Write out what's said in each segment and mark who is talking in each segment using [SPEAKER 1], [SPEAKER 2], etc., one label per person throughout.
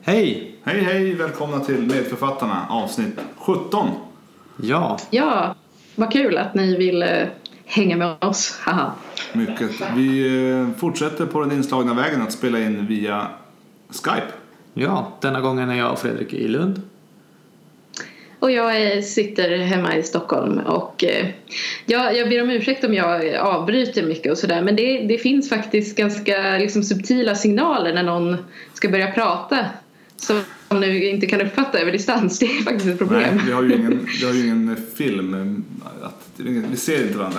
[SPEAKER 1] Hej!
[SPEAKER 2] Hej hej, välkomna till Medförfattarna avsnitt 17.
[SPEAKER 1] Ja,
[SPEAKER 3] Ja, vad kul att ni vill eh, hänga med oss. Haha.
[SPEAKER 2] Mycket. Vi eh, fortsätter på den inslagna vägen att spela in via Skype.
[SPEAKER 1] ja, denna gången är jag och Fredrik i Lund.
[SPEAKER 3] Och jag eh, sitter hemma i Stockholm och eh, jag, jag ber om ursäkt om jag avbryter mycket och sådär men det, det finns faktiskt ganska liksom, subtila signaler när någon ska börja prata som nu inte kan uppfatta över distans. Det är faktiskt ett problem.
[SPEAKER 2] Nej, vi har ju ingen, vi har ju ingen film. eh, Att, det är ingen- vi ser inte varandra.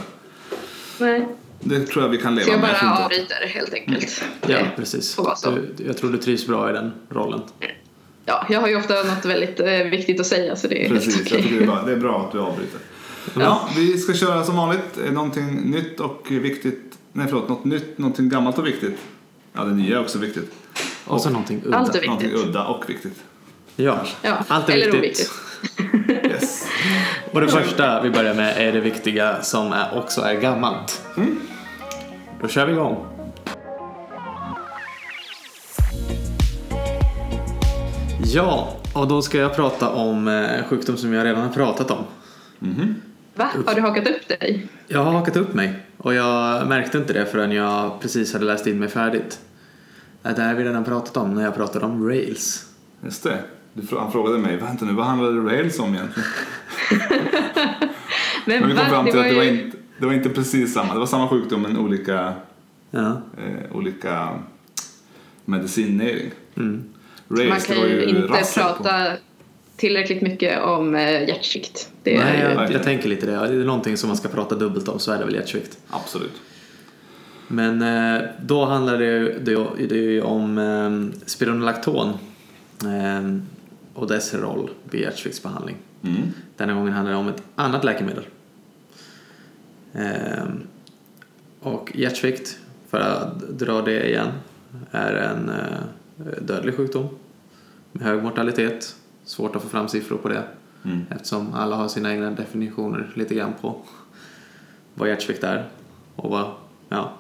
[SPEAKER 3] Nej.
[SPEAKER 2] Det tror jag vi kan leva
[SPEAKER 3] Så jag
[SPEAKER 2] med. tror
[SPEAKER 3] bara
[SPEAKER 2] inte Mm. att-
[SPEAKER 3] avbryter helt enkelt. Eh,
[SPEAKER 1] Ja,
[SPEAKER 3] Det
[SPEAKER 1] precis.
[SPEAKER 3] får vara så.
[SPEAKER 1] Du, jag tror du trivs bra i den rollen.
[SPEAKER 3] Ja, jag har ju ofta något väldigt eh, viktigt att säga så det är
[SPEAKER 2] Precis,
[SPEAKER 3] helt
[SPEAKER 2] jag
[SPEAKER 3] okej.
[SPEAKER 2] tycker det är bra, det är bra att du avbryter. Ja, vi ska köra som vanligt eh, någonting nytt och viktigt. Nej förlåt, något nytt, någonting gammalt och viktigt. Ja, det nya är också viktigt.
[SPEAKER 1] Och så någonting udda.
[SPEAKER 3] Allt är viktigt.
[SPEAKER 2] Någonting udda och viktigt.
[SPEAKER 1] Ja,
[SPEAKER 3] Ja,
[SPEAKER 1] allt är
[SPEAKER 3] eller
[SPEAKER 1] viktigt.
[SPEAKER 3] oviktigt.
[SPEAKER 2] Yes.
[SPEAKER 1] Och det första vi börjar med är det viktiga som är också är gammalt.
[SPEAKER 3] Mm.
[SPEAKER 1] Då kör vi igång. Ja, och då ska jag prata om eh, en sjukdom som jag redan har pratat om.
[SPEAKER 3] Va? Har du hakat upp dig?
[SPEAKER 1] Jag har hakat upp mig och jag märkte inte det förrän jag precis hade läst in mig färdigt. Det här har vi redan pratat om när jag pratade om rails.
[SPEAKER 2] Just det. Du, frå- han frågade mig, vänta nu, vad handlade Rails om egentligen? Men vi kom
[SPEAKER 3] va?
[SPEAKER 2] fram till att det var,
[SPEAKER 3] ju-
[SPEAKER 2] inte, det var inte precis samma. Det var samma sjukdom men olika,
[SPEAKER 1] Ja.
[SPEAKER 2] eh, olika medicinering.
[SPEAKER 3] Man
[SPEAKER 2] Rails, det
[SPEAKER 3] kan
[SPEAKER 2] var
[SPEAKER 3] ju inte
[SPEAKER 2] rassel på-
[SPEAKER 3] prata tillräckligt mycket om eh, hjärtsvikt. Det
[SPEAKER 1] Nej,
[SPEAKER 3] är,
[SPEAKER 1] jag,
[SPEAKER 2] verkligen.
[SPEAKER 1] jag tänker lite det. Ja, Det är någonting som man ska prata dubbelt om så är det väl hjärtsvikt.
[SPEAKER 2] Absolut.
[SPEAKER 1] Men eh, då handlar det ju, det, ju- det är ju om eh, spironolakton eh, och dess roll vid hjärtsviktsbehandling.
[SPEAKER 2] Mm.
[SPEAKER 1] Denna gången handlar det om ett annat läkemedel. Ehm, och hjärtsvikt, för att dra det igen, är en eh, dödlig sjukdom med hög mortalitet. Svårt att få fram siffror på det
[SPEAKER 2] Mm.
[SPEAKER 1] eftersom alla har sina egna definitioner lite grann på vad hjärtsvikt är och vad, ja.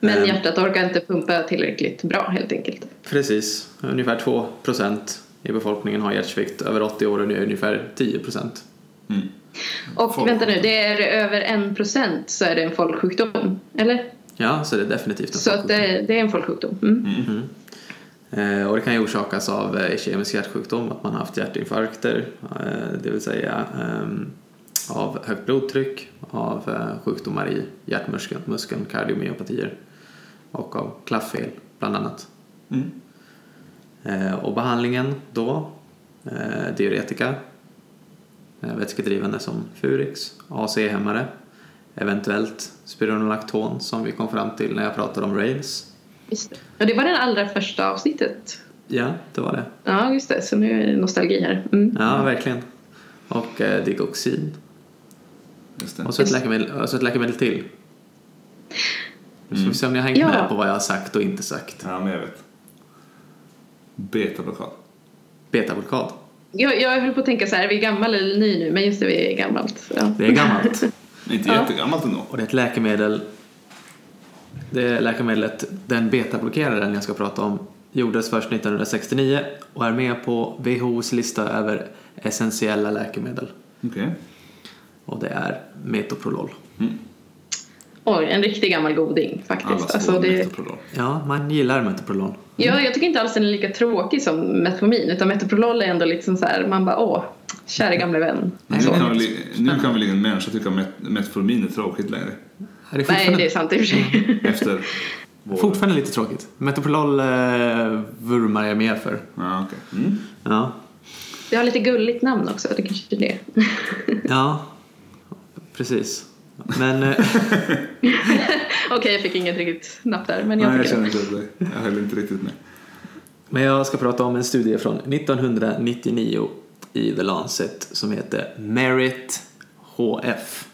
[SPEAKER 3] men
[SPEAKER 1] Ehm,
[SPEAKER 3] hjärtat orkar inte pumpa tillräckligt bra helt enkelt.
[SPEAKER 1] Precis, ungefär 2% i befolkningen har hjärtsvikt. Över 80 år är det ungefär 10%.
[SPEAKER 2] Mm.
[SPEAKER 3] Och
[SPEAKER 2] Folk-
[SPEAKER 3] vänta nu, det är över en procent så är det en folksjukdom, eller?
[SPEAKER 1] Ja, så det är definitivt en
[SPEAKER 3] Så att eh,
[SPEAKER 1] folksjukdom.
[SPEAKER 3] det, det är en folksjukdom. Mm.
[SPEAKER 1] Eh, Och det kan ju orsakas av eh, kemisk hjärtsjukdom, att man har haft hjärtinfarkter, eh, det vill säga ehm, av högt blodtryck, av eh, sjukdomar i hjärtmuskeln, muskeln, kardiomyopatier och av klafffel bland annat.
[SPEAKER 2] Mm.
[SPEAKER 1] Eh, Och behandlingen då, eh, diuretika, eh, vätskedrivande som Furix, AC-hämmare, eventuellt spironolakton som vi kom fram till när jag pratade om Rails.
[SPEAKER 3] Just det. Och det var det allra första avsnittet.
[SPEAKER 1] Ja, det var det.
[SPEAKER 3] Ja, just det. Så nu är det nostalgi här. Mm.
[SPEAKER 1] Ja, verkligen. Och eh, digoxin.
[SPEAKER 2] Just det.
[SPEAKER 1] Och så ett
[SPEAKER 3] Just-
[SPEAKER 1] läkemedel, och så ett läkemedel till. Nu ska vi se om ni har hängt
[SPEAKER 3] Mm. Ja.
[SPEAKER 1] med på vad jag har sagt och inte sagt.
[SPEAKER 2] Ja, men jag vet. Betablockad.
[SPEAKER 1] Betablockad.
[SPEAKER 3] Jag, jag höll på att tänka så här, är vi gammal eller ny nu? Men just det, vi är gammalt. Ja.
[SPEAKER 1] Det är gammalt.
[SPEAKER 2] Inte
[SPEAKER 3] Ja.
[SPEAKER 2] jättegammalt ändå.
[SPEAKER 1] och det är ett läkemedel. Det läkemedlet, den betablockeraren jag ska prata om, gjordes först 1969 och är med på WHOs lista över essentiella läkemedel.
[SPEAKER 2] Okej.
[SPEAKER 1] Och det är metoprolol.
[SPEAKER 3] Oj, en riktig gammal goding faktiskt.
[SPEAKER 2] Alla
[SPEAKER 3] Alltså,
[SPEAKER 2] svåra
[SPEAKER 3] det-
[SPEAKER 2] metoprolol.
[SPEAKER 1] Ja, man gillar metoprolol.
[SPEAKER 3] Ja, jag tycker inte alls den är lika tråkig som Metformin utan Metoprolol är ändå liksom så här, man bara åh, kära gamla vän.
[SPEAKER 2] Nu
[SPEAKER 1] det är
[SPEAKER 2] kan,
[SPEAKER 1] inte
[SPEAKER 2] väl, nu kan väl ingen människa tycka att met- Metformin är tråkigt längre.
[SPEAKER 1] Är det
[SPEAKER 3] Nej,
[SPEAKER 1] fortfarande-
[SPEAKER 3] det är sant i och för sig.
[SPEAKER 2] Efter våren.
[SPEAKER 1] Fortfarande lite tråkigt. Metoprolol eh, vurmar jag mer för.
[SPEAKER 2] Ja, okej. Mm.
[SPEAKER 1] Ja.
[SPEAKER 3] Det har lite gulligt namn också, det kanske är det.
[SPEAKER 1] ja. Precis. Men eh,
[SPEAKER 3] Okej, jag fick inget riktigt napp där, men jag
[SPEAKER 2] Nej, jag
[SPEAKER 3] fick det.
[SPEAKER 2] känner inte efter dig. Jag höll inte riktigt med.
[SPEAKER 1] Men jag ska prata om en studie från 1999 i The Lancet som heter Merit HF.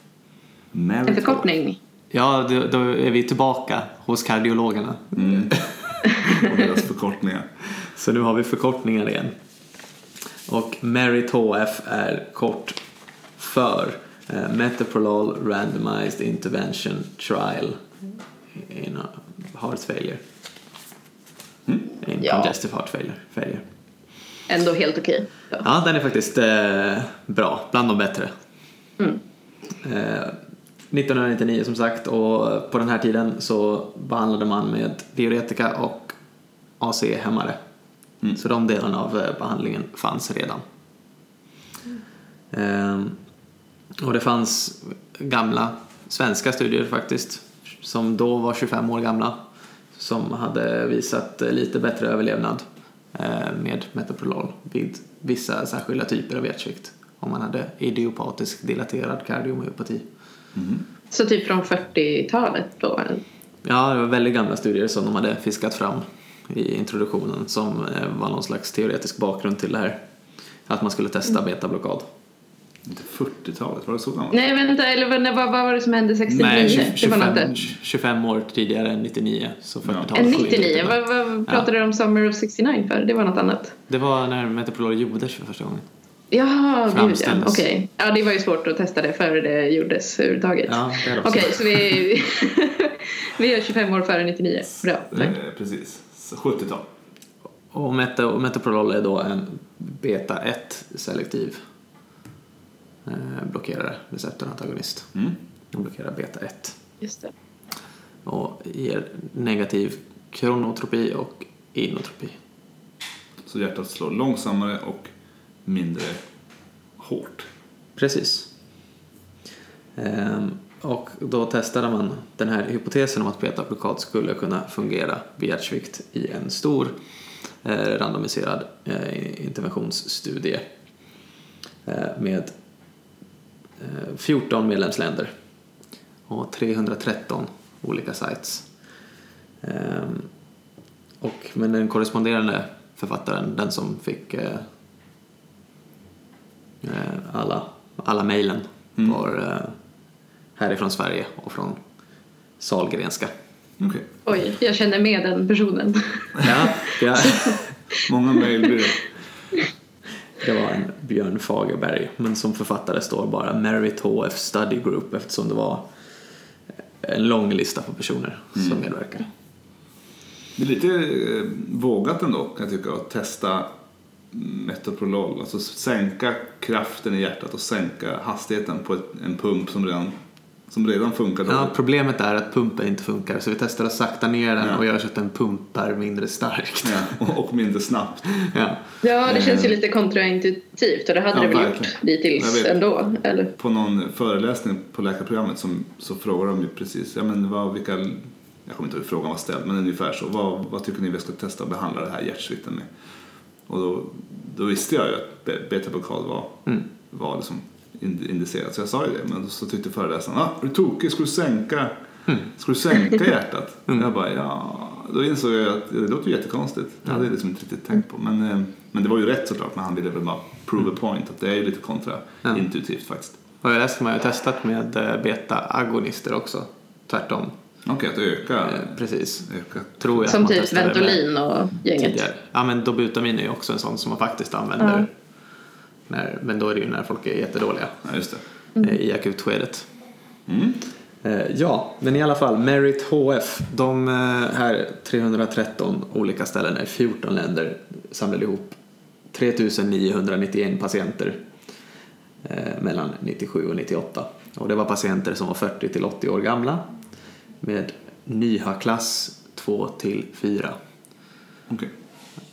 [SPEAKER 2] Mary
[SPEAKER 3] En förkortning.
[SPEAKER 1] Ja, då, då är vi tillbaka hos kardiologerna.
[SPEAKER 2] Mm. Och deras förkortningar.
[SPEAKER 1] Så nu har vi förkortningar igen. Och Merit HF är kort för eh, Metoprolol Randomized Intervention Trial in a Heart Failure. In
[SPEAKER 3] Ja.
[SPEAKER 1] congestive heart failure. failure.
[SPEAKER 3] Ändå helt okej. Ja.
[SPEAKER 1] Ja, den är faktiskt eh, bra. Bland de bättre. Eh, 1999 som sagt och på den här tiden så behandlade man med diuretika och AC-hämmare. Så de delarna av eh, behandlingen fanns redan. Ehm, Eh, och det fanns gamla svenska studier faktiskt som då var 25 år gamla som hade visat eh, lite bättre överlevnad eh, med metoprolol vid vissa särskilda typer av hjärtsvikt om man hade idiopatisk dilaterad kardiomyopati.
[SPEAKER 3] Så typ från 40-talet då?
[SPEAKER 1] Ja, det var väldigt gamla studier som de hade fiskat fram i introduktionen som eh, var någon slags teoretisk bakgrund till det här. Att man skulle
[SPEAKER 3] Mm.
[SPEAKER 1] testa betablockad.
[SPEAKER 2] Inte 40-talet, var det så gammalt?
[SPEAKER 3] Nej vänta, eller vad, när- vad, vad var det som hände 69?
[SPEAKER 1] Nej, tju-
[SPEAKER 3] det var
[SPEAKER 1] 25,
[SPEAKER 3] något där.
[SPEAKER 1] 25 år tidigare än 99, så 40-talet.
[SPEAKER 2] Ja.
[SPEAKER 3] Eh,
[SPEAKER 1] får vi
[SPEAKER 3] 99,
[SPEAKER 1] inte.
[SPEAKER 3] vad,
[SPEAKER 1] typ.
[SPEAKER 3] vad pratade du om Summer of 69 för? Det var något annat.
[SPEAKER 1] Det var när metoprolol gjordes för första gången.
[SPEAKER 3] Jaha, gud ja.
[SPEAKER 1] Framställdes.
[SPEAKER 3] Okej. Ja, det var ju svårt att testa det före det gjordes överhuvudtaget.
[SPEAKER 1] Ja, det är det
[SPEAKER 3] Okej,
[SPEAKER 1] också.
[SPEAKER 3] så vi, vi är 25 år före 99. Bra, tack.
[SPEAKER 2] Eh, precis. Så 70-tal.
[SPEAKER 1] Och meta- metoprolol är då en beta-1-selektiv eh, blockerare, receptorantagonist.
[SPEAKER 2] Mm.
[SPEAKER 1] Den blockerar beta-1
[SPEAKER 3] Just det.
[SPEAKER 1] och ger negativ kronotropi och inotropi.
[SPEAKER 2] Så hjärtat slår långsammare och mindre hårt.
[SPEAKER 1] Precis. Ehm, och då testade man den här hypotesen om att beta-blockad skulle kunna fungera vid hjärtsvikt i en stor eh, randomiserad eh, interventionsstudie eh, med eh, 14 medlemsländer och 313 olika sites. Ehm, och, men den korresponderande författaren, den som fick eh, eh, alla, alla mejlen var eh, härifrån Sverige och från Salgrenska.
[SPEAKER 2] Okej.
[SPEAKER 3] Oj, jag känner med den personen.
[SPEAKER 1] Ja, det,
[SPEAKER 2] Många mejl blir det.
[SPEAKER 1] det var en Björn Fagerberg, men som författare står bara Merit HF Study Group eftersom det var en lång lista på personer som medverkade.
[SPEAKER 2] Det är lite eh, vågat ändå kan jag tycka att testa metoprolol. Alltså sänka kraften i hjärtat och sänka hastigheten på ett, en pump som redan, som redan funkar
[SPEAKER 1] Ja,
[SPEAKER 2] dåligt.
[SPEAKER 1] problemet är att pumpen inte funkar så vi testade att sakta ner den
[SPEAKER 2] Ja.
[SPEAKER 1] och gör så att den pumpar mindre starkt.
[SPEAKER 2] Ja, och- och mindre snabbt.
[SPEAKER 1] Ja.
[SPEAKER 3] Ja, det känns ju lite kontraintuitivt och det hade
[SPEAKER 2] Ja,
[SPEAKER 3] det väl
[SPEAKER 2] verkligen.
[SPEAKER 3] gjort
[SPEAKER 2] Jag
[SPEAKER 3] dittills
[SPEAKER 2] vet.
[SPEAKER 3] ändå. Eller?
[SPEAKER 2] På någon föreläsning på läkarprogrammet som, så frågar de ju precis, ja men vad, vilka, jag kommer inte ihåg hur frågan var ställd, men ungefär så. Vad, vad tycker ni vi ska testa och behandla det här hjärtsvikten med? Och då, då visste jag ju att be- betablockad var, var liksom ind- indicerat, så jag sa ju det. Men så tyckte föreläsaren, ah, är du tokig, ska du sänka, ska du sänka hjärtat? Jag bara, ja. Då insåg jag att det låter ju jättekonstigt. Det hade jag liksom inte riktigt tänkt på. Men, eh, men det var ju rätt såklart, men han ville väl bara prove a point, att det är ju lite kontraintuitivt faktiskt.
[SPEAKER 1] Och det där ska man ju ha testat med eh, beta-agonister också. Tvärtom.
[SPEAKER 2] Okej, att öka,
[SPEAKER 1] Eh, Precis.
[SPEAKER 2] öka.
[SPEAKER 1] Tror jag att
[SPEAKER 3] Som
[SPEAKER 1] man
[SPEAKER 3] typ
[SPEAKER 1] testade med
[SPEAKER 3] Ventolin och gänget.
[SPEAKER 1] tidigare. Ja men Dobutamin är ju också en sån som man faktiskt använder.
[SPEAKER 3] Ja.
[SPEAKER 1] När, men då är det ju när folk är jättedåliga
[SPEAKER 2] Ja, just det.
[SPEAKER 3] Mm.
[SPEAKER 1] eh, i akutskedet.
[SPEAKER 2] Mm.
[SPEAKER 1] Eh, ja, men i alla fall Merit HF. De eh, här 313 olika ställena i 14 länder samlade ihop 3991 patienter eh, mellan 97 och 98. Och det var patienter som var 40 till 80 år gamla med NYHA-klass 2 till 4.
[SPEAKER 2] Okej.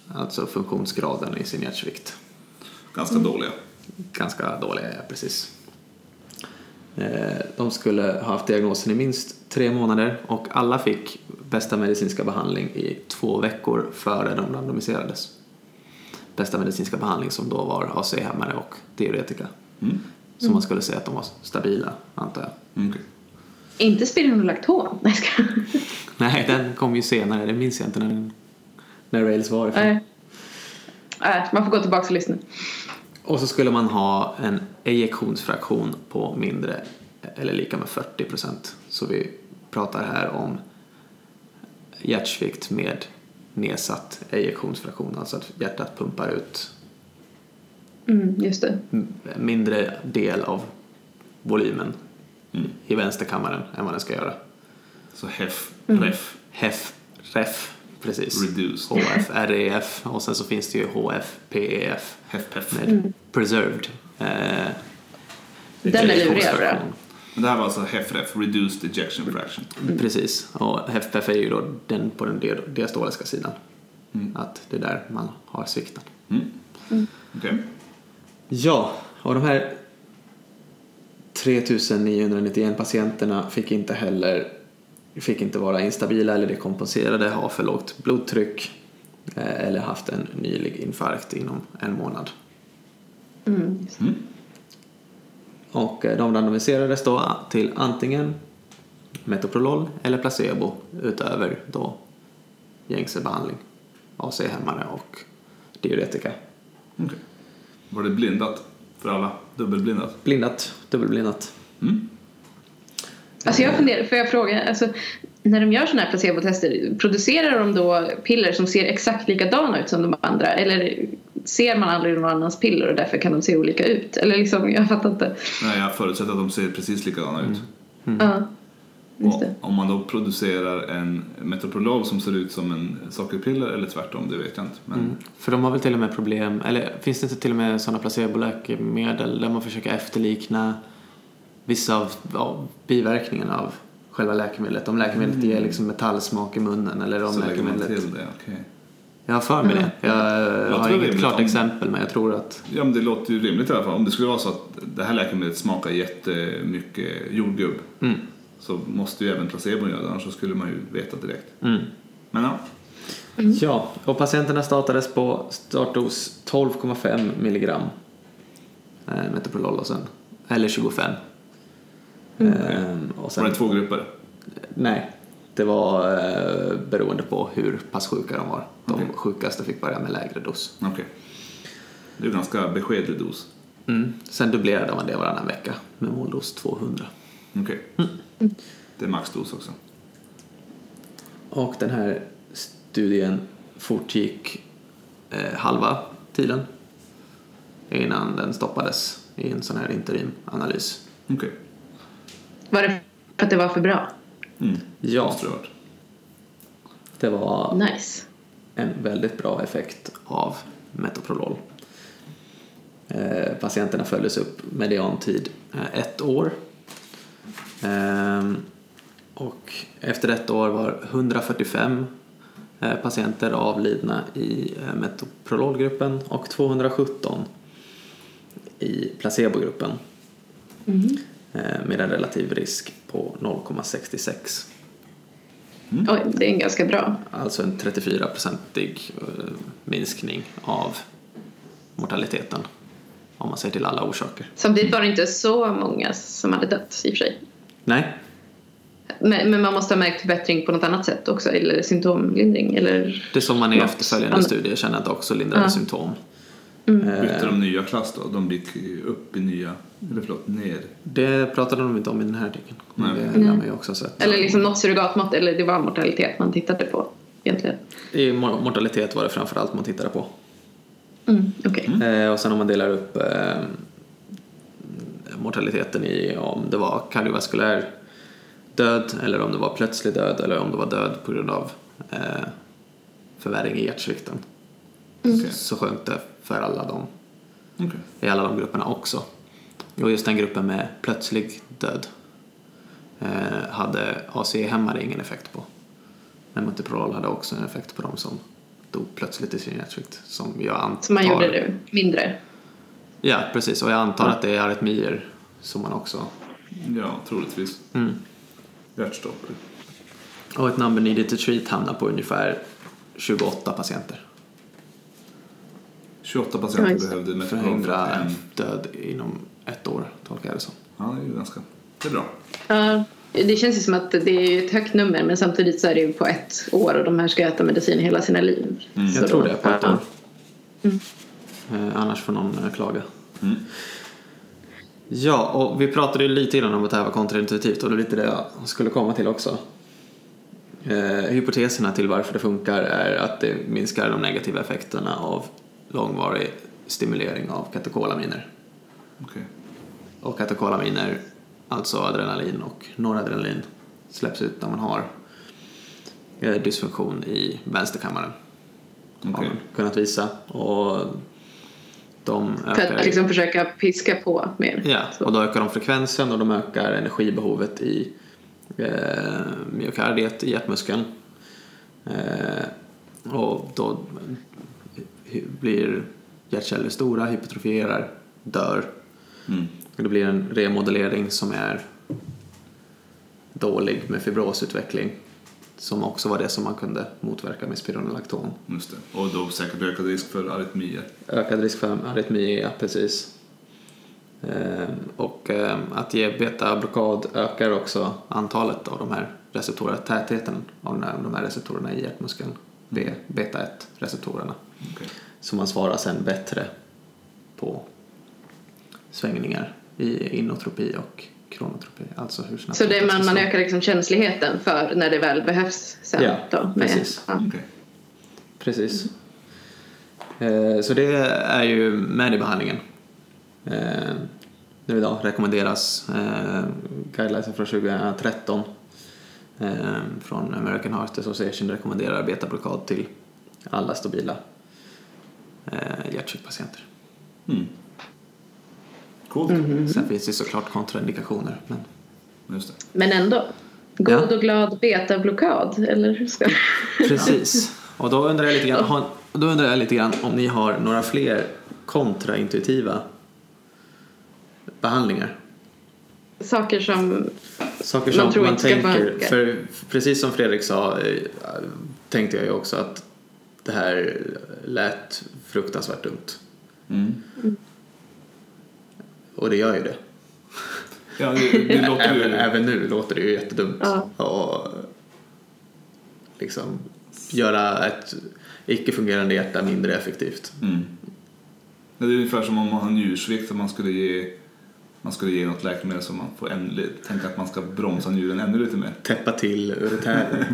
[SPEAKER 1] Alltså funktionsgraden i sin hjärtsvikt.
[SPEAKER 2] Ganska
[SPEAKER 3] Mm.
[SPEAKER 2] dåliga.
[SPEAKER 1] Ganska dåliga, ja, precis. Eh, De skulle ha haft diagnosen i minst tre månader och alla fick bästa medicinska behandling i två veckor före de randomiserades. Bästa medicinska behandling som då var AC-hämmare och diuretika.
[SPEAKER 2] Mm.
[SPEAKER 1] Så man skulle säga att de var stabila, antar jag.
[SPEAKER 2] Okej.
[SPEAKER 3] Inte spironolacton. Nej, jag skojar.
[SPEAKER 1] Nej, den kom ju senare, det minns jag inte när, den, när Rails var ifrån.
[SPEAKER 3] Nej. Nej, Man får gå tillbaka och lyssna.
[SPEAKER 1] Och så skulle man ha en ejektionsfraktion på mindre eller lika med 40 procent. Så vi pratar här om hjärtsvikt med nedsatt ejektionsfraktion, alltså att hjärtat pumpar ut
[SPEAKER 3] Mm, just det.
[SPEAKER 1] m- mindre del av volymen
[SPEAKER 2] Mm.
[SPEAKER 1] i vänsterkammaren än vad den ska göra.
[SPEAKER 3] Mm.
[SPEAKER 2] Så hef, Mm. ref.
[SPEAKER 1] HEF, REF precis.
[SPEAKER 2] Reduced.
[SPEAKER 1] HFREF E och sen så finns det ju HFPEF
[SPEAKER 2] Hef-pef.
[SPEAKER 1] E med preserved. Eh,
[SPEAKER 3] Den är lurig
[SPEAKER 1] reaktionsfraktion.
[SPEAKER 3] att röra.
[SPEAKER 2] Men det här var alltså HEF-REF, Reduced Ejection Fraction.
[SPEAKER 1] Mm. Precis, och HFPEF är ju då den på den dia- diastoliska sidan. Att det är där man har svikten.
[SPEAKER 2] Mm. Okej.
[SPEAKER 1] Ja, och de här 3991 patienterna fick inte heller fick inte vara instabila eller dekompenserade, ha för lågt blodtryck eh, eller haft en nylig infarkt inom en månad.
[SPEAKER 3] Mm.
[SPEAKER 1] Och eh, de randomiserades då till antingen metoprolol eller placebo utöver då gängse behandling, AC-hämmare och diuretika.
[SPEAKER 2] Okej. Var det blindat för alla? Dubbelblindat?
[SPEAKER 1] Blindat, dubbelblindat.
[SPEAKER 2] Mm.
[SPEAKER 3] Alltså jag funderar, får jag fråga, alltså, när de gör sådana här placebotester, producerar de då piller som ser exakt likadana ut som de andra? Eller ser man aldrig någon annans piller och därför kan de se olika ut? Eller liksom, jag fattar inte.
[SPEAKER 2] Nej, jag förutsätter att de ser precis likadana ut.
[SPEAKER 3] Ja, Mm. just
[SPEAKER 2] Och
[SPEAKER 3] det.
[SPEAKER 2] om man då producerar en metoprolol som ser ut som en sockerpiller eller tvärtom, det vet jag inte.
[SPEAKER 3] Mm.
[SPEAKER 2] Men
[SPEAKER 1] För de har väl till och med problem, eller finns det inte till och med sådana placeboläkemedel där man försöker efterlikna vissa av ja, biverkningarna av själva läkemedlet? Om läkemedlet ger liksom metallsmak i munnen eller om
[SPEAKER 2] så lägger man
[SPEAKER 1] läkemedlet...
[SPEAKER 2] till det, okej.
[SPEAKER 1] Jag har för mig det. Jag,
[SPEAKER 2] Jag
[SPEAKER 1] har
[SPEAKER 2] tror
[SPEAKER 1] inget
[SPEAKER 2] det är
[SPEAKER 1] klart
[SPEAKER 2] om-
[SPEAKER 1] exempel men jag tror att...
[SPEAKER 2] Ja, men det låter ju rimligt i alla fall. Om det skulle vara så att det här läkemedlet smakar jättemycket jordgubb
[SPEAKER 1] Mm,
[SPEAKER 2] så måste ju även placebon göra det, annars så skulle man ju veta direkt.
[SPEAKER 1] mm.
[SPEAKER 2] Men ja,
[SPEAKER 1] Ja, och patienterna startades på startdos 12,5 milligram eh, metoprolol och sen, eller 25. Ehm, och sen,
[SPEAKER 2] var det två grupper?
[SPEAKER 1] Nej, det var eh, beroende på hur pass sjuka de var. De
[SPEAKER 2] Okej.
[SPEAKER 1] sjukaste fick börja med lägre dos.
[SPEAKER 2] Okej. Det är ju ganska beskedlig dos. Mm.
[SPEAKER 1] Sen dubblerade man det varannan vecka med måldos 200.
[SPEAKER 2] Okej.
[SPEAKER 1] Mm.
[SPEAKER 2] Det är maxdos också.
[SPEAKER 1] Och den här studien fortgick eh, halva tiden innan den stoppades i en sån här interimanalys.
[SPEAKER 2] Okej.
[SPEAKER 3] Var det för att det var för bra?
[SPEAKER 2] Mm.
[SPEAKER 1] Ja,
[SPEAKER 2] Måste det ha varit.
[SPEAKER 1] det var
[SPEAKER 3] Nice.
[SPEAKER 1] en väldigt bra effekt av metoprolol. Eh, patienterna följdes upp mediantid eh, ett år. Ehm, och efter ett år var 145 eh, patienter avlidna i eh, metoprololgruppen och 217 i placebogruppen eh, med en relativ risk på 0,66.
[SPEAKER 3] Oj, det är en ganska bra.
[SPEAKER 1] Alltså en 34-procentig eh, minskning av mortaliteten. Om man ser till alla orsaker.
[SPEAKER 3] Samtidigt var det inte så många som hade dött i och för sig.
[SPEAKER 1] Nej,
[SPEAKER 3] Men, men man måste ha märkt förbättring på något annat sätt också, eller symptomlindring eller...
[SPEAKER 1] det som man i
[SPEAKER 3] Något
[SPEAKER 1] efterföljande
[SPEAKER 3] annat.
[SPEAKER 1] studier känner att också lindrade
[SPEAKER 3] Ja.
[SPEAKER 1] symptom.
[SPEAKER 2] Bytte
[SPEAKER 1] Eh.
[SPEAKER 2] de nya klass då? De gick upp i nya, eller förlåt, ner.
[SPEAKER 1] Det pratade de inte om i den här artikeln.
[SPEAKER 2] Nej.
[SPEAKER 1] Det har man ju också sett.
[SPEAKER 3] Eller liksom något surrogatmått, eller det var mortalitet man tittade på egentligen.
[SPEAKER 1] I mor- mortalitet var det framförallt man tittade på.
[SPEAKER 3] Mm, Okej.
[SPEAKER 1] Eh, och sen om man delar upp eh, mortaliteten i om det var kardiovaskulär död eller om det var plötslig död eller om det var död på grund av eh, förvärring i hjärtsvikten.
[SPEAKER 3] Mm.
[SPEAKER 2] Okej.
[SPEAKER 1] Så sjönk det för alla dem,
[SPEAKER 2] Okej.
[SPEAKER 1] i alla de grupperna också. Och just den gruppen med plötslig död eh, hade AC-hämmare ingen effekt på. Men metoprolol hade också en effekt på dem som dog plötsligt i sin hjärtsvikt. Som jag antar...
[SPEAKER 3] Så man gjorde det mindre.
[SPEAKER 1] Ja, precis. Och jag antar att det är arytmier som man också...
[SPEAKER 2] Ja, troligtvis.
[SPEAKER 1] Mm.
[SPEAKER 2] Hjärtstopp.
[SPEAKER 1] Och ett number needed to treat hamnar på ungefär 28 patienter.
[SPEAKER 2] 28 patienter
[SPEAKER 3] Ja, just det.
[SPEAKER 2] behövde
[SPEAKER 1] För att
[SPEAKER 2] metoprolol.
[SPEAKER 1] hindra
[SPEAKER 2] En.
[SPEAKER 1] död inom ett år, tolkar jag det som.
[SPEAKER 2] Ja, det är ju ganska... Det är bra.
[SPEAKER 3] Ja, det känns ju som att det är ju ett högt nummer men samtidigt så är det ju på ett år och de här ska äta medicin hela sina liv. så
[SPEAKER 1] Mm. jag tror
[SPEAKER 3] då-
[SPEAKER 1] det, på ett år.
[SPEAKER 3] Ja.
[SPEAKER 1] Eh, annars får någon eh, klaga.
[SPEAKER 2] Mm.
[SPEAKER 1] Ja, och vi pratade ju lite innan om att det här var kontraintuitivt och det är lite det jag skulle komma till också. Eh, hypoteserna till varför det funkar är att det minskar de negativa effekterna av långvarig stimulering av katekolaminer.
[SPEAKER 2] Okej.
[SPEAKER 1] Och katekolaminer, alltså adrenalin och noradrenalin, släpps ut när man har eh, dysfunktion i vänsterkammaren. Har
[SPEAKER 2] Okej.
[SPEAKER 1] man kunnat visa. Och de
[SPEAKER 3] För
[SPEAKER 1] ökar,
[SPEAKER 3] att liksom försöka piska på mer.
[SPEAKER 1] ja,
[SPEAKER 3] Så.
[SPEAKER 1] och då ökar de frekvensen och de ökar energibehovet i eh, myokardiet, i hjärtmuskeln. Eh, och då hy- blir hjärtceller stora, hypertrofierar, dör.
[SPEAKER 2] Mm.
[SPEAKER 1] Och Det blir en remodellering som är dålig med fibrosutveckling som också var det som man kunde motverka med spironolakton.
[SPEAKER 2] Just det. Och då säkert ökad risk för arytmier.
[SPEAKER 1] Ökad risk för arytmi, ja precis. Ehm, Och ehm, att ge betablockad ökar också antalet av de här receptorerna, tätheten av de här- de här receptorerna i hjärtmuskeln, B- beta-1-receptorerna.
[SPEAKER 2] Okej.
[SPEAKER 1] Så man svarar sen bättre på svängningar i inotropi och kronotropi, alltså hur snabbt
[SPEAKER 3] Så det är man, man
[SPEAKER 1] slår.
[SPEAKER 3] ökar liksom känsligheten för när det väl behövs sen.
[SPEAKER 1] Ja,
[SPEAKER 3] då,
[SPEAKER 1] precis.
[SPEAKER 3] Ja.
[SPEAKER 2] Okej.
[SPEAKER 1] Precis. Eh, Så det är ju med i behandlingen. Eh, Nu idag rekommenderas eh, guidelines från 2013 eh, från American Heart Association rekommenderar betablockad till alla stabila eh, hjärtsjukpatienter.
[SPEAKER 2] Mm. Coolt.
[SPEAKER 1] Sen finns det såklart kontraindikationer. Men...
[SPEAKER 2] Just det.
[SPEAKER 3] Men ändå. God
[SPEAKER 1] Ja.
[SPEAKER 3] och glad betablockad, eller hur ska
[SPEAKER 1] Precis. Och då undrar, jag lite grann, har, då undrar jag lite grann om ni har några fler kontraintuitiva behandlingar?
[SPEAKER 3] Saker som...
[SPEAKER 1] Saker
[SPEAKER 3] Man
[SPEAKER 1] som man,
[SPEAKER 3] tror inte ska
[SPEAKER 1] tänker,
[SPEAKER 3] funka.
[SPEAKER 1] för precis som Fredrik sa eh, tänkte jag ju också att det här lät fruktansvärt dumt.
[SPEAKER 2] Mm.
[SPEAKER 1] Och det gör ju det.
[SPEAKER 2] Ja, det, det låter
[SPEAKER 1] Även,
[SPEAKER 2] ju...
[SPEAKER 1] även nu låter det ju jättedumt.
[SPEAKER 3] Ja.
[SPEAKER 1] Och liksom göra ett icke-fungerande hjärta mindre effektivt.
[SPEAKER 2] Mm. Ja, Det är ungefär som om man har njursvikt och man skulle ge, man skulle ge något läkemedel som man får ännu, tänka att man ska bromsa njuren ännu lite mer.
[SPEAKER 1] Täppa till uretären.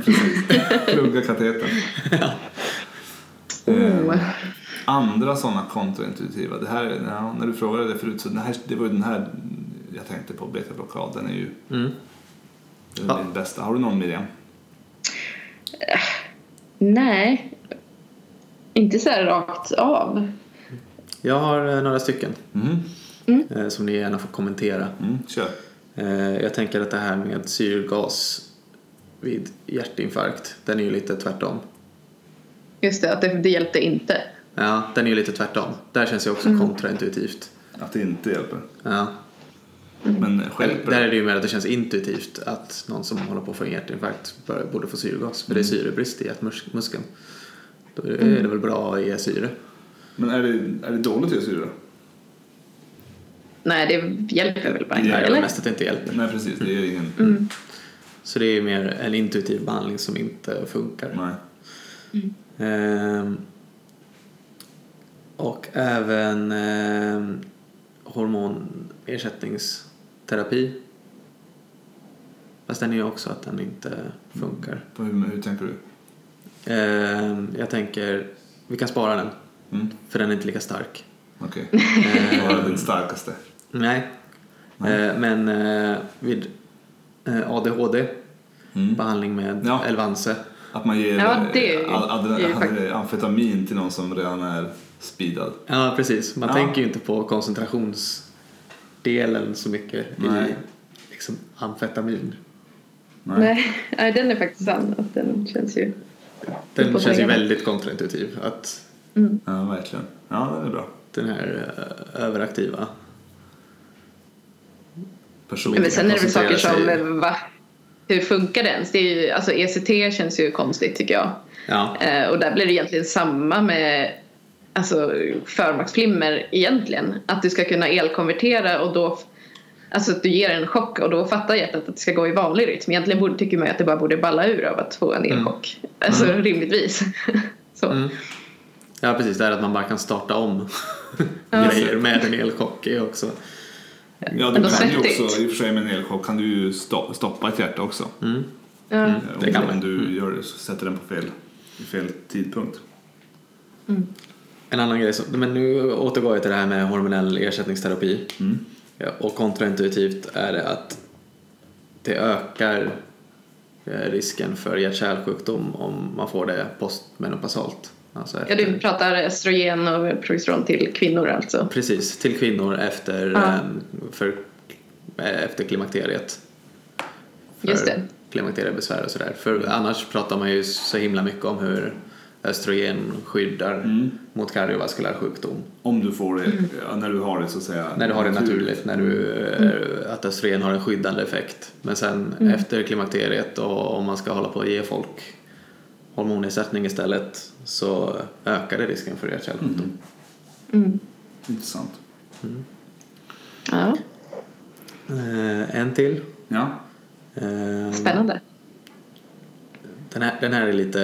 [SPEAKER 2] Plugga katetern.
[SPEAKER 1] Mm.
[SPEAKER 3] Oh.
[SPEAKER 2] Andra sådana kontraintuitiva. Det här, ja, när du frågade det förut så den här, det var ju den här jag tänkte på, betablockad. Den är ju
[SPEAKER 1] Mm.
[SPEAKER 2] den
[SPEAKER 1] Ja.
[SPEAKER 2] är min bästa. Har du någon Miriam?
[SPEAKER 3] Nej. Inte så här rakt av.
[SPEAKER 1] Jag har eh, några stycken
[SPEAKER 2] Mm.
[SPEAKER 1] eh, som ni gärna får kommentera.
[SPEAKER 2] Mm, kör.
[SPEAKER 1] Eh, Jag tänker att det här med syrgas vid hjärtinfarkt, den är ju lite tvärtom.
[SPEAKER 3] Just det, att det, det hjälpte inte.
[SPEAKER 1] Ja, den är ju lite tvärtom. Där känns det också kontraintuitivt.
[SPEAKER 2] Att det inte hjälper.
[SPEAKER 1] Ja.
[SPEAKER 3] Mm.
[SPEAKER 2] Men
[SPEAKER 1] Eller,
[SPEAKER 2] stjälper
[SPEAKER 1] där
[SPEAKER 2] det?
[SPEAKER 1] är det ju mer att det känns intuitivt att någon som håller på att få en hjärtinfarkt bör- borde få syrgas. För det är syrebrist i hjärtmuskeln. Då är det väl bra att ge syre.
[SPEAKER 2] Men är det, är det dåligt just nu då?
[SPEAKER 3] Nej, det hjälper väl bara
[SPEAKER 1] Det
[SPEAKER 3] inte,
[SPEAKER 1] är väl
[SPEAKER 3] eller?
[SPEAKER 1] mest att det inte hjälper.
[SPEAKER 2] Nej precis, det är ingen...
[SPEAKER 3] Mm.
[SPEAKER 1] Så det är ju mer en intuitiv behandling som inte funkar.
[SPEAKER 2] Nej.
[SPEAKER 1] Ehm, och även ehm, hormonersättningsterapi. Fast den är ju också att den inte funkar.
[SPEAKER 2] På Hur, hur tänker du?
[SPEAKER 1] Ehm, jag tänker, vi kan spara den.
[SPEAKER 2] Mm.
[SPEAKER 1] För den är inte lika stark. Ehm,
[SPEAKER 2] Okej.
[SPEAKER 3] Mm.
[SPEAKER 2] Okay. Bara den starkaste.
[SPEAKER 1] Nej. Ehm, men eh, vid eh, ADHD,
[SPEAKER 2] Mm.
[SPEAKER 1] behandling med
[SPEAKER 2] Ja.
[SPEAKER 1] Elvanse.
[SPEAKER 2] Att man ger
[SPEAKER 3] Ja, det
[SPEAKER 2] eh, ad- ad-
[SPEAKER 3] är ju faktiskt-
[SPEAKER 2] amfetamin till någon som redan är speedad.
[SPEAKER 1] Ja, precis. Man
[SPEAKER 2] Ja.
[SPEAKER 1] tänker ju inte på koncentrationsdelen så mycket
[SPEAKER 2] Nej.
[SPEAKER 1] i liksom, amfetamin.
[SPEAKER 3] Nej, nej, den är faktiskt sann. Att den känns ju...
[SPEAKER 1] Den
[SPEAKER 3] På
[SPEAKER 1] känns ju
[SPEAKER 3] vägen.
[SPEAKER 1] väldigt kontraintuitiv. Att
[SPEAKER 2] Ja, verkligen. Ja, det är bra.
[SPEAKER 1] den här eh, överaktiva.
[SPEAKER 2] Person.
[SPEAKER 1] Inte
[SPEAKER 3] Men sen är det väl saker
[SPEAKER 1] koncentrera
[SPEAKER 3] som...
[SPEAKER 1] sig.
[SPEAKER 3] Va? Hur funkar det ens? Det är ju, alltså ECT känns ju konstigt tycker jag.
[SPEAKER 1] Ja,
[SPEAKER 3] Eh, och där blir det egentligen samma med alltså, förmaksflimmer egentligen. Att du ska kunna elkonvertera och då Alltså att du ger en chock och då fattar hjärtat att det ska gå i vanlig rytm. Egentligen borde, tycker man ju att det bara borde balla ur av att få en elchock.
[SPEAKER 1] Mm.
[SPEAKER 3] Alltså rimligtvis. Så.
[SPEAKER 1] ja precis. Det här att man bara kan starta om grejer med en elchock är också.
[SPEAKER 2] Ja, du
[SPEAKER 3] Ändå
[SPEAKER 2] kan ju
[SPEAKER 3] svettigt.
[SPEAKER 2] också, i och för sig med en elchock kan du ju sto- stoppa ett hjärta också.
[SPEAKER 3] Ja.
[SPEAKER 2] Eh,
[SPEAKER 1] Mm. det kan
[SPEAKER 2] om-
[SPEAKER 1] man. Mm.
[SPEAKER 2] Om du gör, sätter den på fel, i fel tidpunkt.
[SPEAKER 1] En annan grej som, men nu återgår jag till det här med hormonell ersättningsterapi. Ja, och kontraintuitivt är det att det ökar eh, risken för hjärt-kärlsjukdom om man får det postmenopausalt. Alltså
[SPEAKER 3] Ja, du pratar östrogen och progesteron till kvinnor alltså?
[SPEAKER 1] Precis, till kvinnor efter,
[SPEAKER 3] Ja.
[SPEAKER 1] eh, för, eh, efter klimakteriet. För
[SPEAKER 3] Just det.
[SPEAKER 1] Klimakteriebesvär och sådär. För annars pratar man ju så himla mycket om hur östrogen skyddar mot kardiovaskulär sjukdom.
[SPEAKER 2] Om du får det,
[SPEAKER 3] Mm.
[SPEAKER 2] ja, när du har det så att säga.
[SPEAKER 1] När du har det naturligt, när du, eh, att östrogen har en skyddande effekt. Men sen efter klimakteriet och om man ska hålla på och ge folk hormonersättning istället så ökar det risken för hjärt-kärlsjukdom.
[SPEAKER 2] Intressant.
[SPEAKER 3] Ja,
[SPEAKER 1] Eh, en till.
[SPEAKER 2] Ja.
[SPEAKER 1] Eh,
[SPEAKER 3] spännande.
[SPEAKER 1] Den här, den här är lite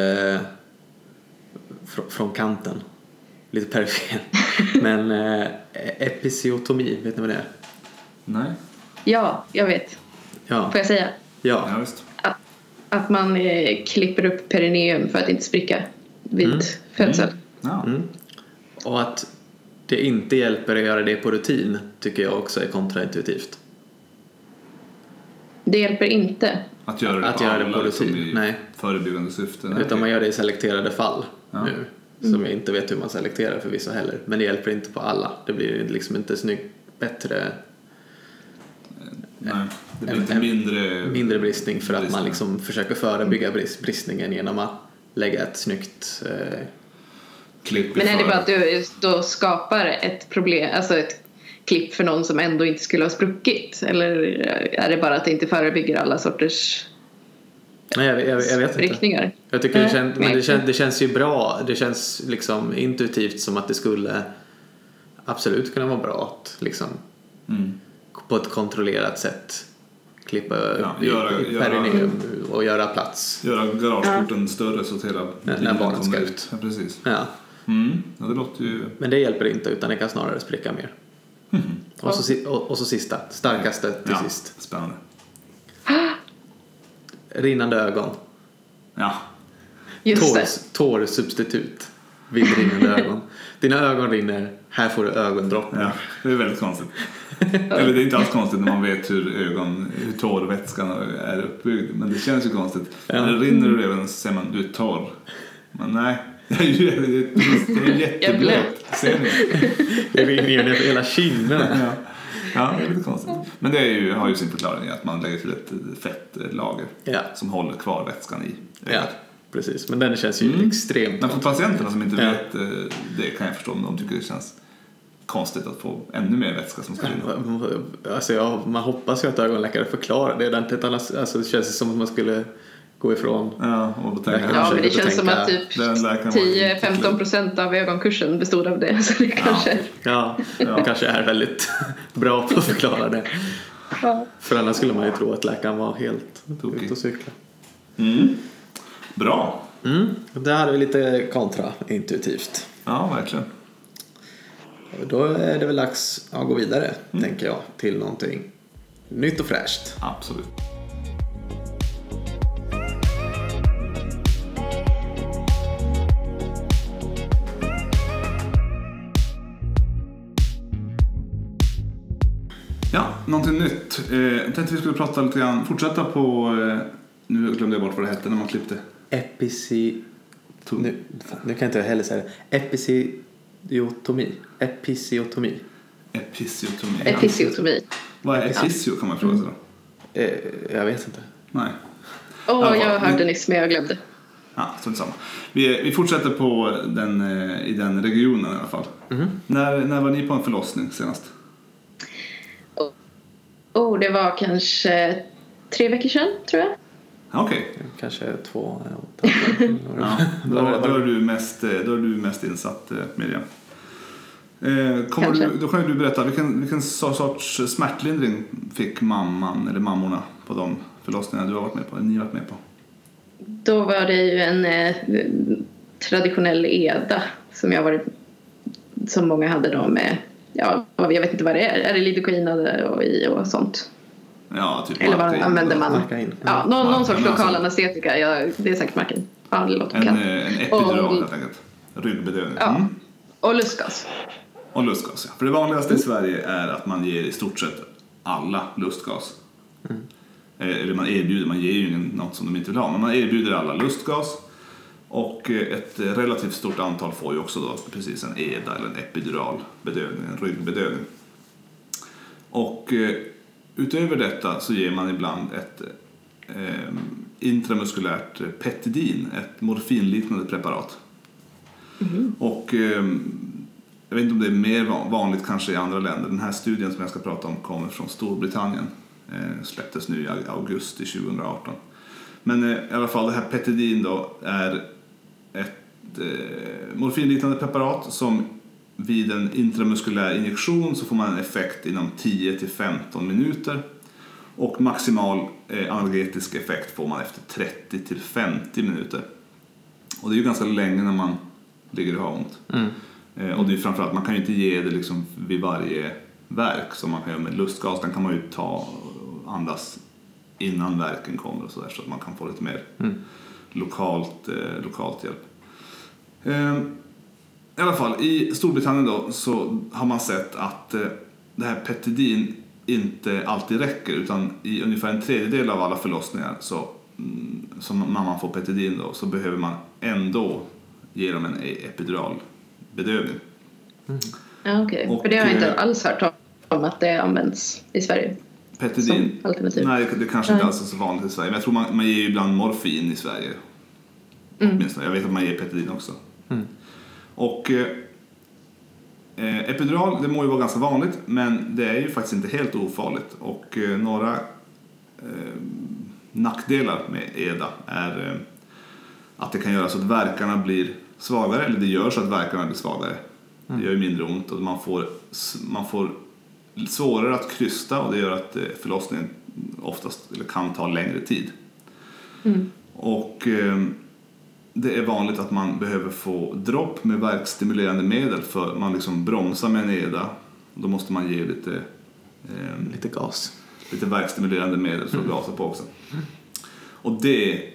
[SPEAKER 1] fr- från kanten. Lite perifer. Men eh, episiotomi, vet ni vad det är?
[SPEAKER 2] Nej.
[SPEAKER 3] Ja, jag vet.
[SPEAKER 1] Ja.
[SPEAKER 3] Får jag säga?
[SPEAKER 1] ja.
[SPEAKER 2] Ja, visst.
[SPEAKER 3] Att, att man eh, klipper upp perineum för att inte spricka vid
[SPEAKER 1] Mm.
[SPEAKER 3] födsel.
[SPEAKER 2] Mm. Ja.
[SPEAKER 1] Och att det inte hjälper att göra det på rutin tycker jag också är kontraintuitivt.
[SPEAKER 3] Det hjälper inte.
[SPEAKER 2] Att göra det
[SPEAKER 1] Att
[SPEAKER 2] på,
[SPEAKER 1] göra det
[SPEAKER 2] alla,
[SPEAKER 1] på
[SPEAKER 2] liksom,
[SPEAKER 1] rutin,
[SPEAKER 2] i
[SPEAKER 1] nej.
[SPEAKER 2] förebyggande syfte. Nej.
[SPEAKER 1] Utan man gör det i selekterade fall
[SPEAKER 2] Ja. Mm.
[SPEAKER 1] nu. Som jag inte vet hur man selekterar förvisso heller. Men det hjälper inte på alla. Det blir liksom inte snyggt bättre,
[SPEAKER 2] nej. Det blir
[SPEAKER 1] en-
[SPEAKER 2] lite
[SPEAKER 1] en-
[SPEAKER 2] mindre...
[SPEAKER 1] mindre bristning för att man
[SPEAKER 2] bristning. Mm.
[SPEAKER 1] liksom försöker förebygga brist, bristningen genom att lägga ett snyggt eh,
[SPEAKER 2] klipp i
[SPEAKER 3] Men är det
[SPEAKER 2] för-
[SPEAKER 3] bara att du då skapar ett problem, alltså ett klipp för någon som ändå inte skulle ha spruckit? Eller är det bara att det inte förebygger alla sorters
[SPEAKER 1] Nej, jag, jag, jag vet inte.
[SPEAKER 3] riktningar?
[SPEAKER 1] Jag tycker det,
[SPEAKER 3] Nej,
[SPEAKER 1] kän, men
[SPEAKER 3] nej.
[SPEAKER 1] det, kän, det känns ju bra. Det känns liksom intuitivt som att det skulle absolut kunna vara bra att liksom
[SPEAKER 2] Mm.
[SPEAKER 1] på ett kontrollerat sätt klippa
[SPEAKER 2] Ja,
[SPEAKER 1] i-
[SPEAKER 2] göra-
[SPEAKER 1] i
[SPEAKER 2] göra-
[SPEAKER 1] perineum och göra plats.
[SPEAKER 2] Göra garageporten större så att hela... bilen
[SPEAKER 1] barnen ska
[SPEAKER 2] kommer
[SPEAKER 1] ut.
[SPEAKER 2] Ja, precis.
[SPEAKER 1] Ja,
[SPEAKER 2] Mm. Ja, det låter ju...
[SPEAKER 1] men det hjälper inte utan det kan snarare spricka mer. Mhm. Och, så, si- och, och så sista, starkaste till
[SPEAKER 2] ja.
[SPEAKER 1] sist.
[SPEAKER 2] Spännande.
[SPEAKER 1] Rinnande ögon.
[SPEAKER 2] Ja.
[SPEAKER 3] Just det.
[SPEAKER 1] Tår, tårsubstitut vid rinnande ögon. Dina ögon rinner, här får du ögondropp.
[SPEAKER 2] ja. Det är väldigt konstigt. Eller det är inte alls konstigt när man vet hur ögon, hur torr vätskan är uppbyggd. Men det känns ju konstigt. När det rinner ur ögonen så säger man du är torr. Men nej, jag är ju- jag är
[SPEAKER 3] Jag är
[SPEAKER 2] jätteblöt.
[SPEAKER 3] blöt.
[SPEAKER 2] Ser ni?
[SPEAKER 1] Det rinner ju ner för hela kinden.
[SPEAKER 2] Ja. ja, det är lite konstigt. Men det är ju, har ju sin förklaring i att man lägger till ett fettlager
[SPEAKER 1] Ja.
[SPEAKER 2] som håller kvar vätskan i.
[SPEAKER 1] Ja, precis. Men den känns ju extremt...
[SPEAKER 2] Men för patienterna som inte
[SPEAKER 1] Ja.
[SPEAKER 2] vet eh, det kan jag förstå om de tycker det känns konstigt att få ännu mer vätska som ska rinna.
[SPEAKER 1] Alltså jag, man hoppas ju att ögonläkare förklarar det. ordentligt, annars- Alltså det känns som att man skulle gå ifrån.
[SPEAKER 2] Ja, och
[SPEAKER 1] Ja,
[SPEAKER 2] tänka,
[SPEAKER 3] Ja,
[SPEAKER 1] kanske
[SPEAKER 3] men det
[SPEAKER 1] inte
[SPEAKER 3] känns som
[SPEAKER 1] tänka-
[SPEAKER 3] att typ
[SPEAKER 2] Den läkaren var inte klok.
[SPEAKER 3] 10-15 procent av ögonkursen bestod av det. Så det kanske...
[SPEAKER 1] Ja, de kanske är väldigt bra på att förklara det.
[SPEAKER 3] Ja.
[SPEAKER 1] För annars skulle man ju tro att läkaren var helt
[SPEAKER 2] Tokig.
[SPEAKER 1] ute och cykla.
[SPEAKER 2] Mm. Bra!
[SPEAKER 1] Mm. Det här är lite kontraintuitivt.
[SPEAKER 2] Ja, verkligen.
[SPEAKER 1] Då är det väl dags att gå vidare, tänker jag, till någonting nytt och fräscht.
[SPEAKER 2] Absolut. Ja, någonting nytt. Eh, jag tänkte vi skulle prata lite grann, fortsätta på, eh, nu glömde jag bort vad det hette när man klippte.
[SPEAKER 1] Epici...
[SPEAKER 2] To-
[SPEAKER 1] Nu, fan, nu kan jag inte heller säga det. Episiotomi. Episiotomi.
[SPEAKER 2] Episiotomi.
[SPEAKER 3] Episiotomi.
[SPEAKER 2] Vad är episio kan man fråga sig då?
[SPEAKER 1] Eh, jag vet inte.
[SPEAKER 2] Nej.
[SPEAKER 3] Åh,
[SPEAKER 2] Ja,
[SPEAKER 3] jag
[SPEAKER 2] men-
[SPEAKER 3] hörde nyss men jag glömde.
[SPEAKER 2] Ja, strunt samma. Vi, vi fortsätter på den, eh, i den regionen i alla fall. När, när var ni på en förlossning senast?
[SPEAKER 3] Oh, det var kanske tre veckor sedan, tror jag.
[SPEAKER 2] Ja, Okej.
[SPEAKER 1] Kanske två... eh, åtta, några-
[SPEAKER 2] Ja, då,
[SPEAKER 1] några-
[SPEAKER 2] då, är du mest, eh, då är du mest insatt, eh, Miriam. Eh, kommer
[SPEAKER 3] Kanske.
[SPEAKER 2] du, då kan ju du berätta, vilken, vilken so- sorts smärtlindring fick mamman eller mammorna på de förlossningar du har varit med på, ni har varit med på?
[SPEAKER 3] Då var det ju en eh, traditionell EDA som jag varit, som många hade då med, ja, jag vet inte vad det är, är det lidokain och, i och sånt?
[SPEAKER 2] Ja, typ
[SPEAKER 3] Eller vad
[SPEAKER 2] Martin.
[SPEAKER 3] använder man?
[SPEAKER 1] Markain.
[SPEAKER 3] Ja, någon, någon
[SPEAKER 2] Markain,
[SPEAKER 3] sorts
[SPEAKER 2] alltså.
[SPEAKER 3] lokal anestetika, ja, det är säkert marken. Ja, det låter
[SPEAKER 2] En,
[SPEAKER 3] bekant.
[SPEAKER 2] eh, en epidural
[SPEAKER 3] Och-
[SPEAKER 2] helt enkelt. Ryggbedövning.
[SPEAKER 3] Ja.
[SPEAKER 2] Mm.
[SPEAKER 3] Och lustgas.
[SPEAKER 2] Och lustgas, ja. För det vanligaste i Sverige är att man ger i stort sett alla lustgas. Eh, Eller man erbjuder, man ger ju ingen något som de inte vill ha. Men man erbjuder alla lustgas. Och eh, ett eh, relativt stort antal får ju också då precis en EDA eller en epidural bedövning, en ryggbedövning. Och eh, utöver detta så ger man ibland ett eh, intramuskulärt petidin, ett morfinliknande preparat. Och ehm, jag vet inte om det är mer van- vanligt kanske i andra länder. Den här studien som jag ska prata om kommer från Storbritannien. Eh, släpptes nu i au- augusti 2018. Men eh, i alla fall det här petidin då är ett eh, morfinliknande preparat som vid en intramuskulär injektion så får man en effekt inom 10 till 15 minuter. Och maximal eh, analgetisk effekt får man efter 30 till 50 minuter. Och det är ju ganska länge när man ligger och har ont.
[SPEAKER 1] Mm.
[SPEAKER 2] Eh, Och det är ju framförallt, man kan ju inte ge det liksom vid varje verk som man kan göra med lustgas. Den kan man ju ta och andas innan verken kommer och sådär så att man kan få lite mer
[SPEAKER 1] Mm.
[SPEAKER 2] lokalt, eh, lokalt hjälp. Ehm, I alla fall, i Storbritannien då så har man sett att eh, det här petidin inte alltid räcker utan i ungefär en tredjedel av alla förlossningar så, mm, som mamman får petidin då så behöver man ändå ge dem en epiduralbedövning.
[SPEAKER 3] Ja, okej.
[SPEAKER 2] Och,
[SPEAKER 3] För det har jag inte
[SPEAKER 2] eh,
[SPEAKER 3] alls hört om att det används i Sverige
[SPEAKER 2] Petidin,
[SPEAKER 3] som alternativ.
[SPEAKER 2] nej det kanske inte
[SPEAKER 3] Nej.
[SPEAKER 2] alls är så vanligt i Sverige men jag tror man, man ger ju ibland morfin i Sverige.
[SPEAKER 3] Mm.
[SPEAKER 2] Åtminstone, jag vet att man ger petidin också.
[SPEAKER 1] Mm.
[SPEAKER 2] Och eh, eh, epidural, det må ju vara ganska vanligt men det är ju faktiskt inte helt ofarligt och eh, några eh, nackdelar med EDA är eh, att det kan göra så att verkarna blir svagare, eller det gör så att verkarna blir svagare. Det gör ju mindre ont och man får, s- man får svårare att krysta och det gör att eh, förlossningen oftast, eller kan ta längre tid. Och eh, det är vanligt att man behöver få dropp med verkstimulerande medel för man liksom bromsar med en EDA. Då måste man ge lite ehm,
[SPEAKER 1] Lite gas.
[SPEAKER 2] lite verkstimulerande medel för att gasa på också. Och det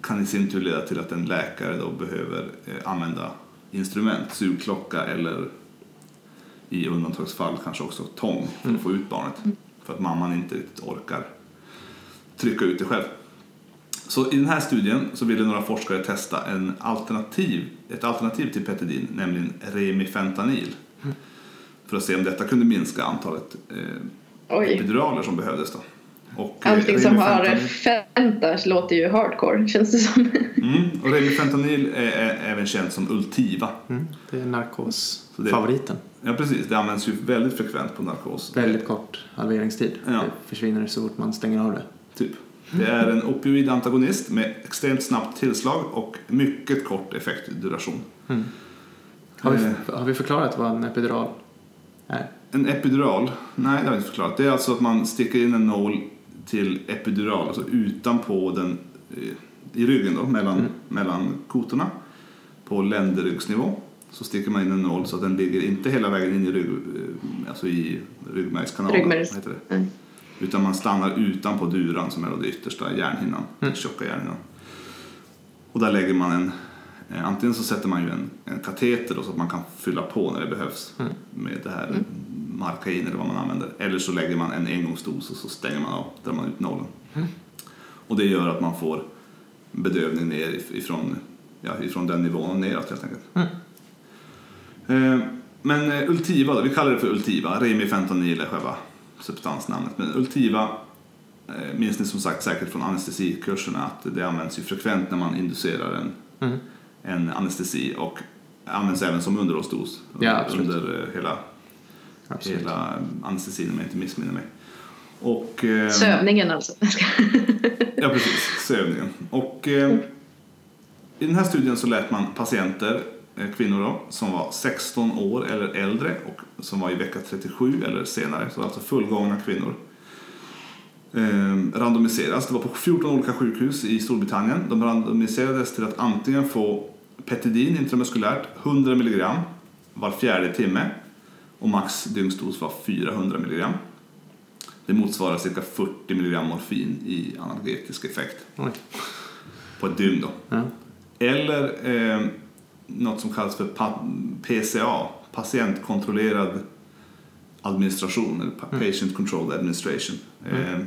[SPEAKER 2] kan i sin tur leda till att en läkare då behöver eh, använda instrument, sugklocka eller i undantagsfall kanske också tång för att få ut barnet. För att mamman inte riktigt orkar trycka ut det själv. Så i den här studien så ville några forskare testa en alternativ, ett alternativ till petidin, nämligen remifentanil. För att se om detta kunde minska antalet eh,
[SPEAKER 3] Oj.
[SPEAKER 2] epiduraler som behövdes då. Och, eh,
[SPEAKER 3] Allting som har
[SPEAKER 2] remifentanil-
[SPEAKER 3] fenta låter ju hardcore känns det som.
[SPEAKER 2] Mm, och remifentanil är, är även känt som Ultiva.
[SPEAKER 1] Mm. Det är
[SPEAKER 2] Så det-
[SPEAKER 1] narkosfavoriten.
[SPEAKER 2] Ja precis, det används ju väldigt frekvent på narkos.
[SPEAKER 1] Väldigt kort halveringstid.
[SPEAKER 2] Ja.
[SPEAKER 1] Det försvinner så fort man stänger av det.
[SPEAKER 2] Typ. Det är en opioidantagonist med extremt snabbt tillslag och mycket kort effektduration.
[SPEAKER 1] Har vi,
[SPEAKER 2] Eh.
[SPEAKER 1] har vi förklarat vad en epidural är?
[SPEAKER 2] En epidural, nej det har jag inte förklarat. Det är alltså att man sticker in en nål till epidural, alltså utanpå den, eh, i ryggen då, mellan,
[SPEAKER 3] Mm.
[SPEAKER 2] mellan kotorna. På länderryggsnivå så sticker man in en nål så att den ligger inte hela vägen in i, rygg, eh, alltså i ryggmärgskanalen.
[SPEAKER 3] Ryggmärgs-
[SPEAKER 2] vad heter det?
[SPEAKER 3] Mm.
[SPEAKER 2] Utan man stannar utanpå duran som är då det yttersta
[SPEAKER 3] Mm.
[SPEAKER 2] hjärnhinnan, den tjocka hjärnhinnan. Och där lägger man en, eh, antingen så sätter man ju en, en kateter då, så att man kan fylla på när det behövs
[SPEAKER 3] Mm.
[SPEAKER 2] med det här
[SPEAKER 1] Mm.
[SPEAKER 2] markain eller vad man använder. Eller så lägger man en engångsdos och så stänger man av, drar man ut nålen. Och det gör att man får bedövning ner if- ifrån, ja, ifrån den nivån och neråt helt enkelt.
[SPEAKER 1] Mm.
[SPEAKER 2] Eh, Men eh, Ultiva då, vi kallar det för Ultiva, remifentanil är själva substansnamnet. Men Ultiva eh, minns ni som sagt säkert från anestesikurserna att det används ju frekvent när man inducerar en,
[SPEAKER 1] Mm.
[SPEAKER 2] en anestesi och används även som underhållsdos
[SPEAKER 1] Ja, absolut.
[SPEAKER 2] under eh, hela, hela anestesin om jag inte missminner mig. Och, eh,
[SPEAKER 3] Sövningen alltså.
[SPEAKER 2] Ja, precis. Sövningen. Och eh, i den här studien så lät man patienter, eh, kvinnor då, som var 16 år eller äldre och som var i vecka 37 eller senare, så alltså fullgångna kvinnor, eh, randomiseras. Det var på 14 olika sjukhus i Storbritannien. De randomiserades till att antingen få petidin intramuskulärt, 100 milligram var fjärde timme och max dygnsdos var 400 milligram. Det motsvarar cirka 40 milligram morfin i analgetisk effekt
[SPEAKER 1] Oj.
[SPEAKER 2] på ett dygn. Då.
[SPEAKER 1] Ja.
[SPEAKER 2] Eller eh, något som kallas för pa- PCA,
[SPEAKER 1] Mm.
[SPEAKER 2] patientkontrollerad administration, eller pa- patient controlled administration. Eh,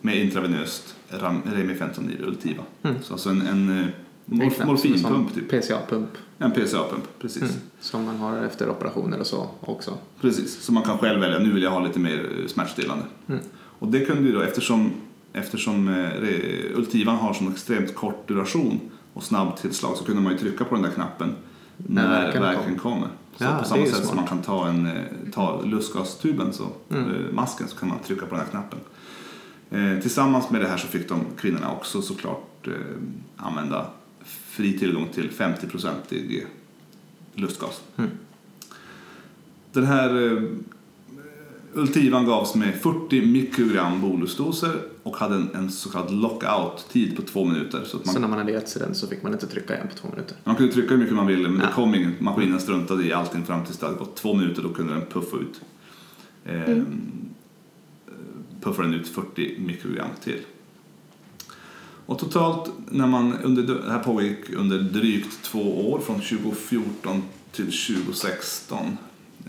[SPEAKER 2] med intravenöst ram- remifentanil Ultiva.
[SPEAKER 1] Mm.
[SPEAKER 2] Så alltså en, en eh, morf-
[SPEAKER 1] Exakt, som en
[SPEAKER 2] morfinpump
[SPEAKER 1] sån
[SPEAKER 2] typ.
[SPEAKER 1] PCA-pump.
[SPEAKER 2] En PCA-pump, precis.
[SPEAKER 1] Mm. Som man har efter operationer och så också.
[SPEAKER 2] Precis, så man kan själv välja, nu vill jag ha lite mer eh, smärtstillande.
[SPEAKER 1] Mm.
[SPEAKER 2] Och det kunde ju då, eftersom, eftersom eh, re- Ultivan har sån extremt kort duration och snabb tillslag så kunde man ju trycka på den där knappen
[SPEAKER 1] När
[SPEAKER 2] när,
[SPEAKER 1] verken
[SPEAKER 2] verken, kommer. Så
[SPEAKER 1] Ja,
[SPEAKER 2] på
[SPEAKER 1] det är
[SPEAKER 2] samma
[SPEAKER 1] ju
[SPEAKER 2] sätt
[SPEAKER 1] smart. Mm.
[SPEAKER 2] som man kan ta, en, eh, ta lustgastuben, så, eh, masken, så kan man trycka på den här knappen. Eh, tillsammans med det här så fick de kvinnorna också såklart eh, använda fri tillgång till 50-procentig lustgas.
[SPEAKER 1] Mm.
[SPEAKER 2] Den här eh, Ultivan gavs med 40 mikrogram bolusdoser och hade en, en så kallad lockout-tid på två minuter. Så att man,
[SPEAKER 1] Så när man hade gett sig den så fick man inte trycka igen på två minuter.
[SPEAKER 2] man kunde trycka hur mycket man ville men
[SPEAKER 1] Ja.
[SPEAKER 2] det kom ingen. Maskinen struntade i allting fram tills det hade gått två minuter. Då kunde den puffa ut. Eh, Puffade den ut 40 mikrogram till. Och totalt, när man under, det här pågick under drygt två år, från 2014 till 2016,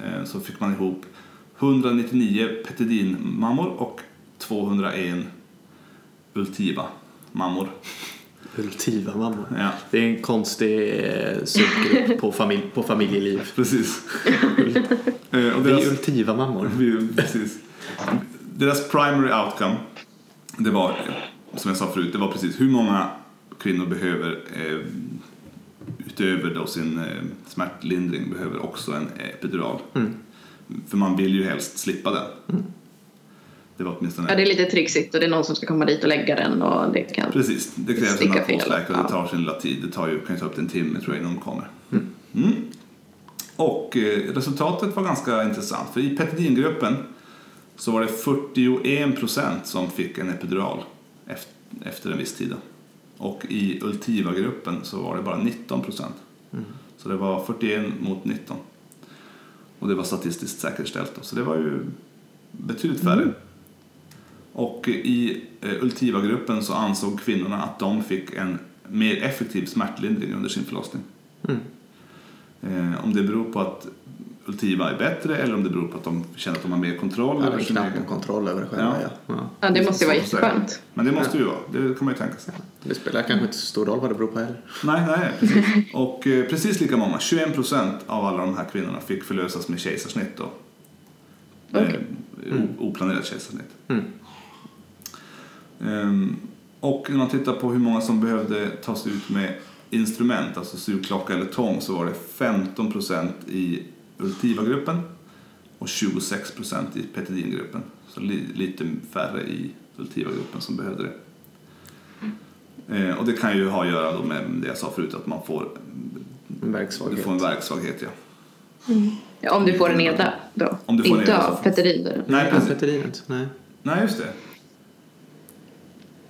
[SPEAKER 2] eh, så fick man ihop 199 petidinmammor och 201 Ultiva-mammor.
[SPEAKER 1] Ultiva mammor.
[SPEAKER 2] Ja,
[SPEAKER 1] Det är en konstig eh, subgrupp på, familj, på familjeliv.
[SPEAKER 2] precis. Eh, och
[SPEAKER 1] Vi
[SPEAKER 2] deras-
[SPEAKER 1] är ultiva mammor.
[SPEAKER 2] Vi- Precis. Deras primary outcome, det var som jag sa förut, det var precis hur många kvinnor behöver eh, utöver då sin eh, smärtlindring behöver också en epidural.
[SPEAKER 1] Mm.
[SPEAKER 2] För man vill ju helst slippa den. Det var åtminstone...
[SPEAKER 3] Ja, det är lite trixigt och det är någon som ska komma dit och lägga den och det kan...
[SPEAKER 2] Precis, det krävs en
[SPEAKER 3] Sticka fel,
[SPEAKER 2] narkosläkare och det
[SPEAKER 3] ja.
[SPEAKER 2] tar sin lilla tid. Det tar ju, kan ju ta upp till en timme tror jag innan de kommer. Mm. Och eh, resultatet var ganska intressant för i petidingruppen så var det 41% som fick en epidural eft- efter en viss tid. då. Och i Ultiva-gruppen så var det bara 19%.
[SPEAKER 3] Mm.
[SPEAKER 2] Så det var 41 mot 19. Och det var statistiskt säkerställt då. Så det var ju betydligt färre.
[SPEAKER 1] Mm.
[SPEAKER 2] Och i eh, Ultiva-gruppen så ansåg kvinnorna att de fick en mer effektiv smärtlindring under sin förlossning.
[SPEAKER 1] Mm.
[SPEAKER 2] Eh, Om det beror på att Ultiva är bättre eller om det beror på att de känner att de har mer kontroll
[SPEAKER 1] Ja, det
[SPEAKER 2] över
[SPEAKER 1] är
[SPEAKER 2] sin
[SPEAKER 1] knappt
[SPEAKER 2] egen...
[SPEAKER 1] någon kontroll över det själva. Ja.
[SPEAKER 2] Ja.
[SPEAKER 1] Ja.
[SPEAKER 3] Ja, det måste ju vara
[SPEAKER 2] Så att säga.
[SPEAKER 3] jätteskönt.
[SPEAKER 2] Men det måste ju vara, det kan man ju tänka sig.
[SPEAKER 1] Det spelar kanske inte så stor roll vad det beror på heller.
[SPEAKER 2] Nej, nej, precis. Och eh, precis lika många, 21 procent av alla de här kvinnorna fick förlösas med kejsarsnitt då.
[SPEAKER 3] Okej.
[SPEAKER 2] Eh, o- Oplanerat kejsarsnitt.
[SPEAKER 1] Mm.
[SPEAKER 2] Ehm, och när man tittar på hur många som behövde tas ut med instrument, alltså sugklocka eller tång, så var det 15 procent i Ultiva-gruppen och 26 procent i Petidin-gruppen. Så li- lite färre i Ultiva-gruppen som behövde det. Eh, och det kan ju ha att göra då med det jag sa förut, att man får,
[SPEAKER 1] En
[SPEAKER 2] du
[SPEAKER 1] verksvaghet.
[SPEAKER 2] får en verksvaghet. Ja.
[SPEAKER 3] Ja, Om du får en EDA då.
[SPEAKER 2] Om du får en
[SPEAKER 3] inte
[SPEAKER 2] EDA,
[SPEAKER 3] av
[SPEAKER 2] så-
[SPEAKER 3] Petterin.
[SPEAKER 2] Nej,
[SPEAKER 1] Nej,
[SPEAKER 2] precis.
[SPEAKER 1] Peterinet. Nej.
[SPEAKER 2] Nej, just det.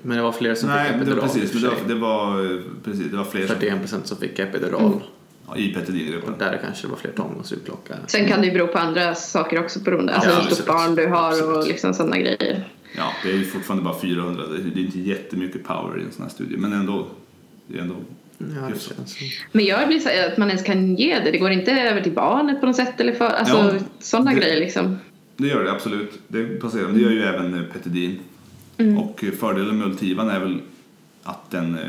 [SPEAKER 1] Men det var fler som
[SPEAKER 2] Nej,
[SPEAKER 1] fick
[SPEAKER 2] men det
[SPEAKER 1] epidural
[SPEAKER 2] var,
[SPEAKER 1] i och
[SPEAKER 2] precis,
[SPEAKER 1] för
[SPEAKER 2] men det
[SPEAKER 1] sig.
[SPEAKER 2] var, det var, eh, precis, det Mm. var fler som,
[SPEAKER 1] 41 procent som fick epidural.
[SPEAKER 2] ja, i Petidin-gruppen.
[SPEAKER 1] Och där kanske det var fler tång och sugklocka.
[SPEAKER 3] Sen kan det ju bero på andra saker också beroende. Alltså
[SPEAKER 2] Ja,
[SPEAKER 3] hur stort
[SPEAKER 2] absolut.
[SPEAKER 3] barn du har
[SPEAKER 1] Absolut.
[SPEAKER 3] och liksom sådana grejer.
[SPEAKER 2] Ja, det är ju fortfarande bara 400. Det är det är inte jättemycket power i en sån här studie, men ändå. Det är ändå
[SPEAKER 1] Ja, det
[SPEAKER 2] hyfsat.
[SPEAKER 1] känns som.
[SPEAKER 3] Men jag blir så här, att man ens kan ge det. Det går inte över till barnet på något sätt eller för, alltså
[SPEAKER 2] Ja,
[SPEAKER 3] sådana
[SPEAKER 2] det-
[SPEAKER 3] grejer liksom.
[SPEAKER 2] Det gör det absolut. Det passerar. Men det gör ju även eh, Petidin. Och eh, fördelen med Ultivan är väl att den eh,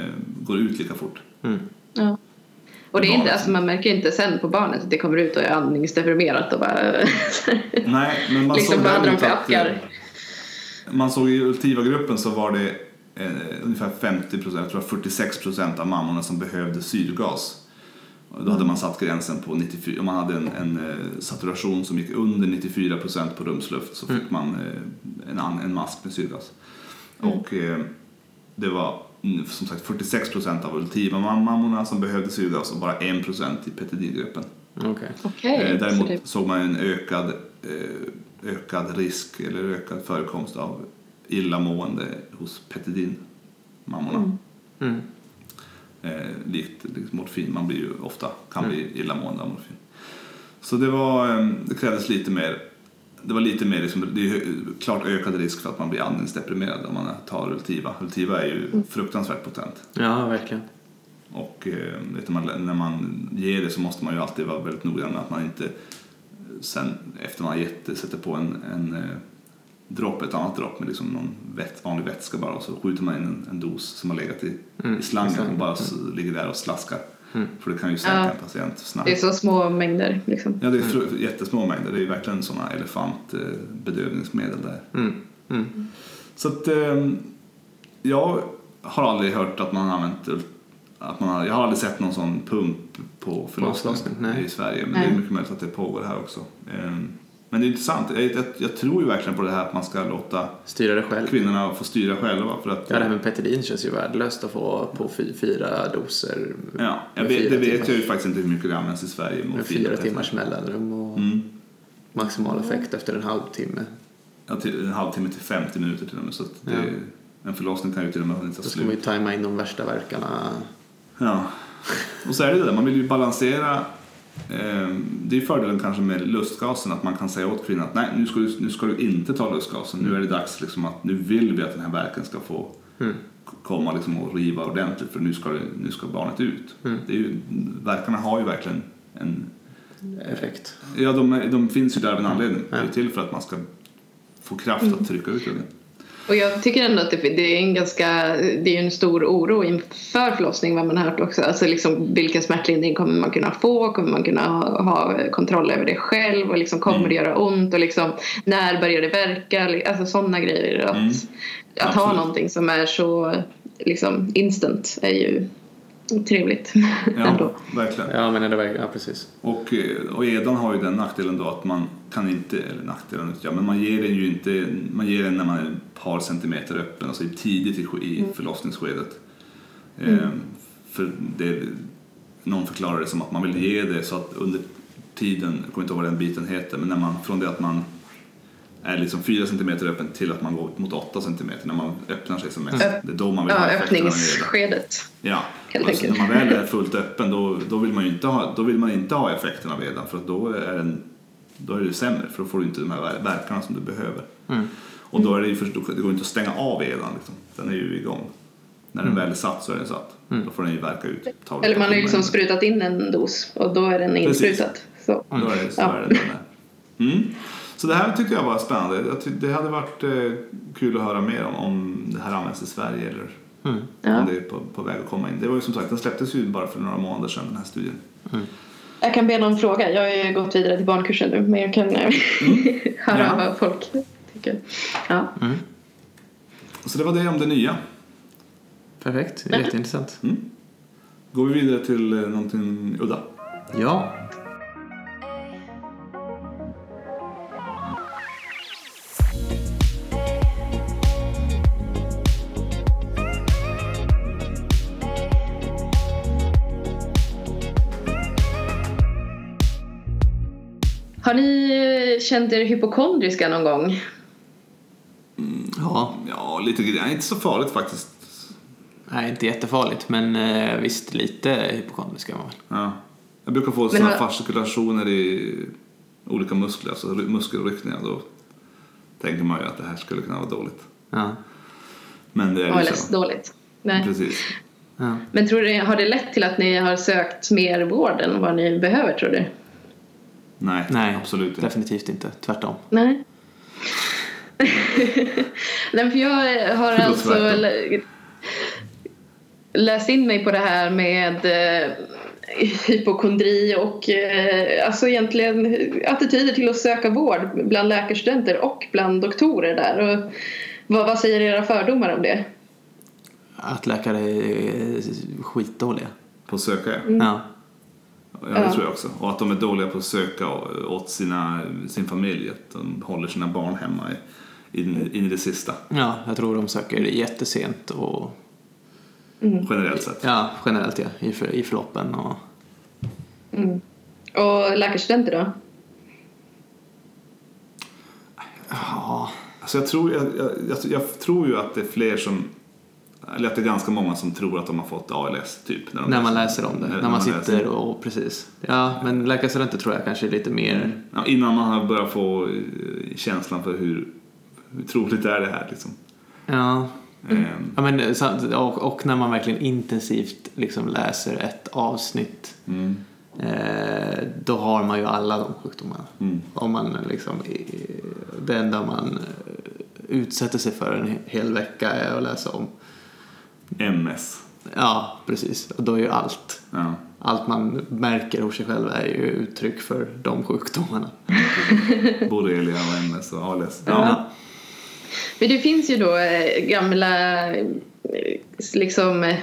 [SPEAKER 2] går ut lika fort.
[SPEAKER 1] Mm.
[SPEAKER 3] Ja. Och det är inte,
[SPEAKER 2] Barnet.
[SPEAKER 3] alltså man märker inte sen på barnet att det kommer ut och är andningsdeprimerat och bara...
[SPEAKER 2] Nej, men man
[SPEAKER 3] liksom
[SPEAKER 2] såg
[SPEAKER 3] vad hade de
[SPEAKER 2] däremot
[SPEAKER 3] för
[SPEAKER 2] att eh,
[SPEAKER 3] ackar?
[SPEAKER 2] man såg i Ultiva-gruppen så var det eh, ungefär 50 procent, jag tror 46 procent av mammorna som behövde syrgas. Och Då hade man satt gränsen på 94, om man hade en, en eh, saturation som gick under 94 procent på rumsluft så fick man eh, en, an- en mask med syrgas. Och eh, det var mm, som sagt 46 procent av Ultiva-mammorna som behövde syrgas och bara 1 procent i Petidin-gruppen.
[SPEAKER 1] Okej.
[SPEAKER 3] Okej.
[SPEAKER 2] Eh,
[SPEAKER 3] så
[SPEAKER 2] Däremot
[SPEAKER 3] det-
[SPEAKER 2] såg man en ökad, eh, ökad risk eller ökad förekomst av illamående hos petidinmammorna.
[SPEAKER 1] Mm.
[SPEAKER 2] Eh, likt liksom morfin, man blir ju ofta, kan bli illamående av morfin. Så det, var, eh, det krävdes lite mer det var lite mer, liksom, det är ju klart ökad risk för att man blir andningsdeprimerad om man tar Ultiva. Ultiva är
[SPEAKER 3] Mm.
[SPEAKER 2] ju fruktansvärt potent.
[SPEAKER 1] Ja, verkligen.
[SPEAKER 2] Och eh, vet du, man, när man ger det så måste man ju alltid vara väldigt noggrann med att man inte sen efter man har gett det sätter på en, en eh, dropp, ett annat dropp med liksom någon väts, vanlig vätska bara och så skjuter man in en, en dos som har legat i,
[SPEAKER 1] Mm,
[SPEAKER 2] i slangen
[SPEAKER 1] exakt.
[SPEAKER 2] och bara s- ligger där och slaskar.
[SPEAKER 1] Mm.
[SPEAKER 2] För det kan ju sänka
[SPEAKER 3] Ja.
[SPEAKER 2] en patient snabbt.
[SPEAKER 3] Det är så små mängder liksom.
[SPEAKER 2] Ja, det är fru- jättesmå mängder. Det är ju verkligen sådana elefantbedövningsmedel där.
[SPEAKER 1] Mm. Mm.
[SPEAKER 2] Så att eh, jag har aldrig hört att man har använt ult- att man har, jag har aldrig sett någon sån pump på
[SPEAKER 1] avlossning,
[SPEAKER 2] förlossningen
[SPEAKER 1] nej.
[SPEAKER 2] i Sverige men
[SPEAKER 3] Nej.
[SPEAKER 2] det är mycket möjligt att det pågår här också. Eh, Men det är intressant. Jag, jag, jag tror ju verkligen på det här att man ska låta
[SPEAKER 1] Styra det själv.
[SPEAKER 2] kvinnorna få styra själva för att
[SPEAKER 1] Ja, det här med petidin känns ju värdelöst att få på fy, fyra doser
[SPEAKER 2] Ja, jag
[SPEAKER 1] med
[SPEAKER 2] vet,
[SPEAKER 1] fyra
[SPEAKER 2] det vet
[SPEAKER 1] timmars-
[SPEAKER 2] jag ju faktiskt inte hur mycket det används i Sverige. med
[SPEAKER 1] med fyra
[SPEAKER 2] fibertest.
[SPEAKER 1] timmars mellanrum och
[SPEAKER 2] Mm.
[SPEAKER 1] maximal effekt efter en halvtimme.
[SPEAKER 2] Ja, till, en halvtimme till 50 minuter till och med. Så att det, En förlossning kan ju till och med inte ta
[SPEAKER 1] Då ska
[SPEAKER 2] slut.
[SPEAKER 1] man ju tajma in de värsta verkarna.
[SPEAKER 2] Ja. Och så är det det, där, man vill ju balansera. Eh, det är fördelen kanske med lustgasen, att man kan säga åt kvinnan att nej, nu ska du, nu ska du inte ta lustgasen. Nu är det dags liksom att, nu vill vi att den här värken ska få
[SPEAKER 1] Mm.
[SPEAKER 2] komma liksom och riva ordentligt för nu ska, det, nu ska barnet ut.
[SPEAKER 1] Mm.
[SPEAKER 2] Det är ju, verkarna har ju verkligen en,
[SPEAKER 1] Effekt.
[SPEAKER 2] ja de, är- de finns ju där av en anledning. Det är
[SPEAKER 1] Mm. Ja.
[SPEAKER 2] till för att man ska få kraft att trycka ut ungen.
[SPEAKER 3] Och jag tycker ändå att det, det är en ganska, det är en stor oro inför förlossning vad man har hört också. Alltså liksom vilken smärtlindring kommer man kunna få? Kommer man kunna ha, ha kontroll över det själv? Och liksom kommer
[SPEAKER 2] Mm.
[SPEAKER 3] det göra ont? Och liksom när börjar det verka? Alltså sådana grejer. Att,
[SPEAKER 2] Mm.
[SPEAKER 3] att ha
[SPEAKER 2] Absolut.
[SPEAKER 3] någonting som är så liksom instant är ju trevligt
[SPEAKER 2] Ja,
[SPEAKER 3] ändå.
[SPEAKER 2] verkligen.
[SPEAKER 1] Ja, men det verkar, ja precis.
[SPEAKER 2] Och, eh, och edan har ju den nackdelen då att man kan inte, eller nackdelen, ja, men man ger den ju inte, man ger den när man är ett par centimeter öppen, alltså tidigt i, sk- i
[SPEAKER 3] Mm.
[SPEAKER 2] förlossningsskedet. Ehm, för det, någon förklarar det som att man vill ge det så att under tiden, jag kommer inte ihåg vad den biten heter, men när man, från det att man är liksom 4 centimeter öppen till att man går mot 8 centimeter när man öppnar sig som mest.
[SPEAKER 3] Mm.
[SPEAKER 2] Det är då man vill ha
[SPEAKER 3] Ja,
[SPEAKER 2] effekten av en eda.
[SPEAKER 3] öppningsskedet.
[SPEAKER 2] Ja,
[SPEAKER 3] Helt
[SPEAKER 2] och så
[SPEAKER 3] enkelt.
[SPEAKER 2] när man väl är fullt öppen då, då, vill man ju inte ha, då vill man inte ha effekten av edan för att då är, den, då är det sämre för då får du inte de här ver- verkarna som du behöver.
[SPEAKER 1] Mm.
[SPEAKER 2] Och då är det ju först, då går det inte att stänga av edan, liksom. den är ju igång. När den väl är satt så är den satt. Då får den ju verka ut. Ta
[SPEAKER 3] Eller man har ju
[SPEAKER 2] lite
[SPEAKER 3] liksom
[SPEAKER 2] timmar.
[SPEAKER 3] sprutat in en dos och då är den
[SPEAKER 2] Mm. Precis. Mm.
[SPEAKER 3] insprutad. Så.
[SPEAKER 2] Då är det, så
[SPEAKER 3] Ja.
[SPEAKER 2] är det den där. Mm. Så det här tyckte jag var spännande. Jag ty- Det hade varit eh, kul att höra mer om, om det här används i Sverige eller
[SPEAKER 1] Mm.
[SPEAKER 3] Ja.
[SPEAKER 2] om det är på, på väg att komma in. Det var ju som sagt, den släpptes ju bara för några månader sedan den här studien.
[SPEAKER 3] Jag kan be någon fråga. Jag har ju gått vidare till barnkursen nu men jag kan eh, höra
[SPEAKER 2] Mm. Ja.
[SPEAKER 3] vad folk tycker. Ja.
[SPEAKER 2] Så det var det om det nya.
[SPEAKER 1] Perfekt, det är jätteintressant.
[SPEAKER 2] Mm. Går vi vidare till eh, någonting udda?
[SPEAKER 1] Ja,
[SPEAKER 3] Har ni eh, känt er hypokondriska någon gång?
[SPEAKER 1] ja.
[SPEAKER 2] Ja, lite grejer. Inte så farligt faktiskt.
[SPEAKER 1] Nej, inte jättefarligt, men eh, visst lite hypokondrisk är man väl.
[SPEAKER 2] Ja. Jag brukar få
[SPEAKER 3] Men
[SPEAKER 2] såna
[SPEAKER 3] har-
[SPEAKER 2] fascikulationer i olika muskler, alltså ry- muskelryckningar. Då tänker man ju att det här skulle kunna vara dåligt.
[SPEAKER 1] Ja.
[SPEAKER 2] Men det är
[SPEAKER 3] Eller
[SPEAKER 2] ju så.
[SPEAKER 3] dåligt? Nej.
[SPEAKER 2] Precis.
[SPEAKER 1] ja.
[SPEAKER 3] Men tror du, har det lett till att ni har sökt mer vård än vad ni behöver tror du?
[SPEAKER 2] Nej,
[SPEAKER 1] Nej,
[SPEAKER 2] absolut inte.
[SPEAKER 1] definitivt inte. Tvärtom.
[SPEAKER 3] Nej. Nej, för jag har
[SPEAKER 2] Förlåt,
[SPEAKER 3] alltså
[SPEAKER 2] tvärtom.
[SPEAKER 3] lä- läst in mig på det här med eh, hypokondri och eh, alltså egentligen attityder till att söka vård bland läkarstudenter och bland doktorer där. Och vad, vad säger era fördomar om det?
[SPEAKER 1] Att läkare är skitdåliga.
[SPEAKER 2] På att söka, ja.
[SPEAKER 1] Ja.
[SPEAKER 2] ja. Det tror jag också. Och att de är dåliga på att söka åt sina, sin familj. Att de håller sina barn hemma i, in, in i det sista.
[SPEAKER 1] ja, jag tror de söker jättesent och
[SPEAKER 3] Mm.
[SPEAKER 2] Generellt sett.
[SPEAKER 1] ja, generellt ja, i, för, i förloppen. Och,
[SPEAKER 3] Och läkarstudenter då?
[SPEAKER 1] ja.
[SPEAKER 2] Alltså jag, tror, jag, jag, jag, jag tror ju att det är fler som eller att det är ganska många som tror att de har fått ALS typ. När, de
[SPEAKER 1] När man läser om det, när, man,
[SPEAKER 2] läser.
[SPEAKER 1] sitter och, och precis. Ja, men läkarstudenter tror jag kanske är lite mer,
[SPEAKER 2] Ja, innan man har börjat få eh, känslan för hur, hur troligt är det här liksom.
[SPEAKER 1] ja,
[SPEAKER 2] Ehm,
[SPEAKER 1] Ja, men, eh, samt- och, och när man verkligen intensivt liksom läser ett avsnitt
[SPEAKER 2] Mm.
[SPEAKER 1] eh, då har man ju alla de sjukdomarna.
[SPEAKER 2] Mm.
[SPEAKER 1] Om man liksom, eh, det enda man eh, utsätter sig för en hel vecka är att läsa om.
[SPEAKER 2] MS.
[SPEAKER 1] Ja, precis. Och då är ju allt.
[SPEAKER 2] Ja.
[SPEAKER 1] Allt man märker hos sig själv är ju uttryck för de sjukdomarna.
[SPEAKER 2] Borrelia och MS och ALS.
[SPEAKER 1] Ja.
[SPEAKER 3] Men det finns ju då eh, gamla, eh, liksom, eh,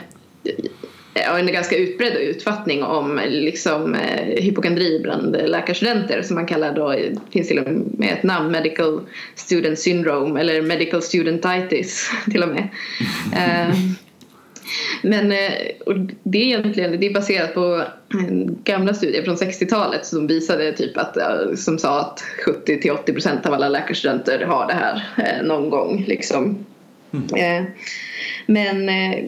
[SPEAKER 3] ja, en ganska utbredd utfattning om eh, liksom, eh, hypokondri bland eh, läkarstudenter som man kallar då, eh, finns till och med ett namn, medical student syndrome eller medical studentitis till och med. Eh, Men eh, och det är egentligen det är baserat på eh, gamla studier från 60-talet som visade typ att, eh, som sa att 70 till 80 procent av alla läkarstudenter har det här eh, någon gång. Liksom.
[SPEAKER 2] Mm.
[SPEAKER 3] Eh, Men eh,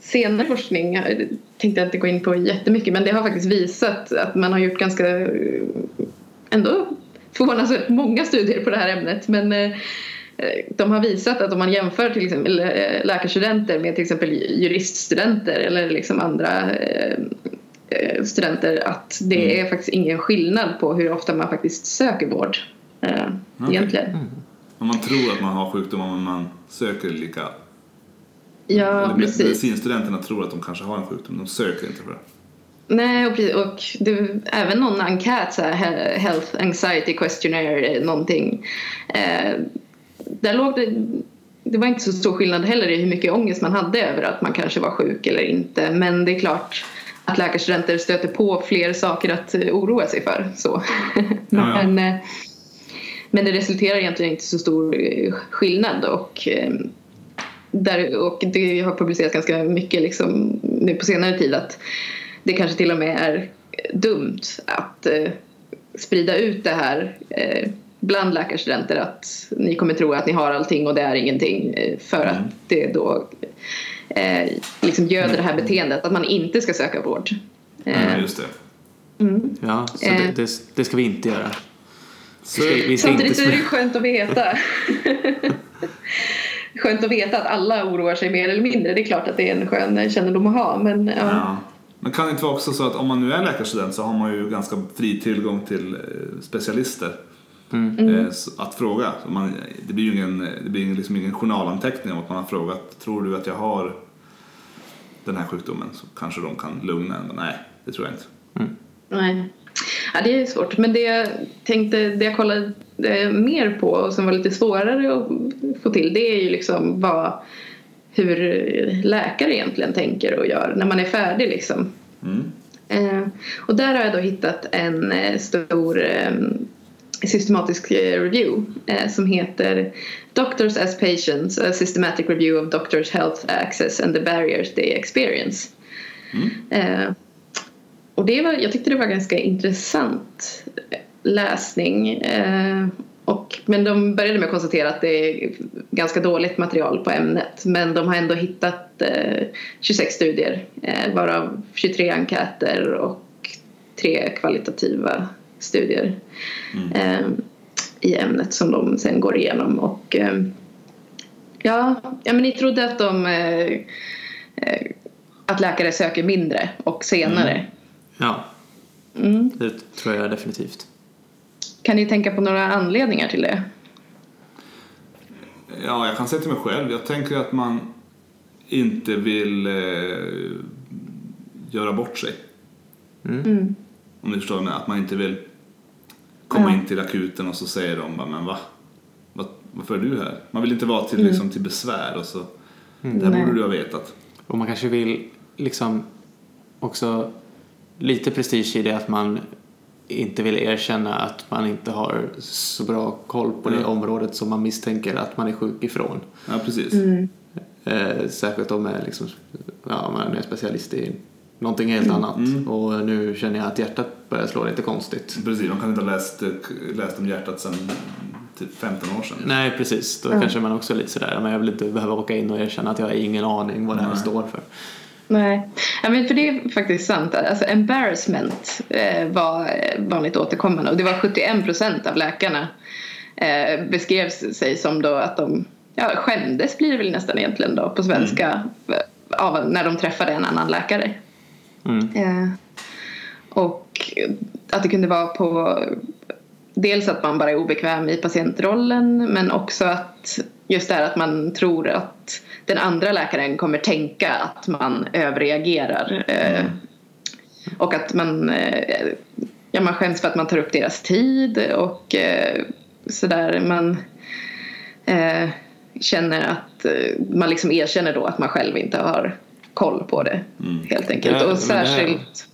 [SPEAKER 3] senare forskning eh, tänkte jag inte gå in på jättemycket men det har faktiskt visat att man har gjort ganska eh, ändå förvånansvärt många studier på det här ämnet men eh, Eh, de har visat att om man jämför till exempel eh, läkarstudenter med till exempel ju- juriststudenter eller liksom andra eh, eh, studenter att det
[SPEAKER 2] Mm.
[SPEAKER 3] är faktiskt ingen skillnad på hur ofta man faktiskt söker vård eh,
[SPEAKER 2] Okej.
[SPEAKER 3] egentligen.
[SPEAKER 2] Om man tror att man har sjukdomar men man söker lika.
[SPEAKER 3] Ja,
[SPEAKER 2] Eller
[SPEAKER 3] precis.
[SPEAKER 2] Medicinstudenterna tror att de kanske har en sjukdom, de söker inte för det.
[SPEAKER 3] Nej, och, precis. och det, även någon enkät, så här, he- Health Anxiety Questionnaire eh, någonting. Eh, där låg det, det var inte så stor skillnad heller i hur mycket ångest man hade över att man kanske var sjuk eller inte. Men det är klart att läkarstudenter stöter på fler saker att eh, oroa sig för. Så.
[SPEAKER 2] Ja, ja.
[SPEAKER 3] men, eh, men det resulterar egentligen inte så stor eh, skillnad. Och, eh, där, och det har publicerats ganska mycket liksom, nu på senare tid att det kanske till och med är dumt att eh, sprida ut det här eh, bland läkarstudenter att ni kommer tro att ni har allting och det är ingenting eh, för
[SPEAKER 2] Mm.
[SPEAKER 3] att det då eh, liksom göder det här beteendet att man inte ska söka vård. Eh,
[SPEAKER 2] Ja, just Mm. det.
[SPEAKER 3] mm.
[SPEAKER 1] Ja, så
[SPEAKER 3] Eh.
[SPEAKER 1] det, det, det ska vi inte göra.
[SPEAKER 2] Så,
[SPEAKER 1] Vi ska, vi ska inte
[SPEAKER 3] Samtidigt är det ju
[SPEAKER 1] smä-
[SPEAKER 3] skönt att veta. skönt att veta att alla oroar sig mer eller mindre. Det är klart att det är en skön kännedom att ha men ja.
[SPEAKER 2] ja. Men kan det inte vara också så att om man nu är läkarstudent så har man ju ganska fri tillgång till eh, specialister eh, så- att fråga. Så Man, det blir ju ingen, det blir ingen- liksom ingen journalanteckning om att man har frågat tror du att jag har den här sjukdomen så kanske de kan lugna en. Nej, det tror jag inte.
[SPEAKER 3] Nej. Ja, det är svårt. Men det jag tänkte, det jag kollade eh, mer på och som var lite svårare att få till det är ju liksom vad, hur läkare egentligen tänker och gör när man är färdig liksom.
[SPEAKER 2] Mm.
[SPEAKER 3] Eh, och där har jag då hittat en eh, stor eh, systematisk eh, review eh, som heter Doctors as Patients, a systematic review of doctors' health access and the barriers they experience. Eh, och det var, jag tyckte det var ganska intressant läsning. Eh, och, men de började med att konstatera att det är ganska dåligt material på ämnet. Men de har ändå hittat eh, 26 studier eh, varav 23 enkäter och tre kvalitativa studier eh, i ämnet som de sen går igenom. Och, eh, ja, ja, men ni trodde att de eh, eh, att läkare söker mindre och senare.
[SPEAKER 1] Ja,
[SPEAKER 3] Mm.
[SPEAKER 1] det tror jag definitivt.
[SPEAKER 3] Kan ni tänka på några anledningar till det?
[SPEAKER 2] Ja, jag kan säga till mig själv. Jag tänker att man inte vill eh, göra bort sig.
[SPEAKER 3] Mm.
[SPEAKER 2] Om ni förstår vad jag menar. Att man inte vill komma
[SPEAKER 3] Ja.
[SPEAKER 2] in till akuten och så säger de bara, men va? Vad, varför är du här? Man vill inte vara till, liksom, till besvär och så.
[SPEAKER 1] Mm.
[SPEAKER 2] Det
[SPEAKER 3] Mm.
[SPEAKER 2] här
[SPEAKER 3] Nej.
[SPEAKER 2] borde du ha vetat.
[SPEAKER 1] Och man kanske vill liksom också lite prestige i det att man inte vill erkänna att man inte har så bra koll på det
[SPEAKER 2] Mm.
[SPEAKER 1] området som man misstänker att man är sjuk ifrån.
[SPEAKER 2] Ja, precis.
[SPEAKER 3] Mm.
[SPEAKER 1] Eh, särskilt om man är, liksom, ja, om man är specialist i någonting helt
[SPEAKER 2] Mm.
[SPEAKER 1] annat. Och nu känner jag att hjärtat börjar slå lite konstigt.
[SPEAKER 2] Precis, man kan inte ha läst, eh, läst om hjärtat sedan typ 15 år sedan.
[SPEAKER 1] Nej, precis. Då
[SPEAKER 2] Mm.
[SPEAKER 1] kanske man också är lite sådär, men jag vill inte behöva åka in och erkänna att jag har ingen aning vad det här
[SPEAKER 2] Nej.
[SPEAKER 1] står för.
[SPEAKER 3] Nej, ja, men för det är faktiskt sant. Alltså, embarrassment eh, var eh, vanligt återkommande och det var 71 procent av läkarna eh, beskrev sig som då att de ja, skämdes blir det väl nästan egentligen då på svenska eh, av, när de träffade en annan läkare.
[SPEAKER 1] Mm.
[SPEAKER 3] Eh, och att det kunde vara på dels att man bara är obekväm i patientrollen men också att Just det här att man tror att den andra läkaren kommer tänka att man överreagerar. eh,
[SPEAKER 1] Mm.
[SPEAKER 3] Och att man, eh, ja, man skäms för att man tar upp deras tid och eh, sådär. Man eh, känner att eh, man liksom erkänner då att man själv inte har koll på det helt enkelt.
[SPEAKER 1] Mm. Ja, men
[SPEAKER 3] och
[SPEAKER 1] det här-
[SPEAKER 3] särskilt...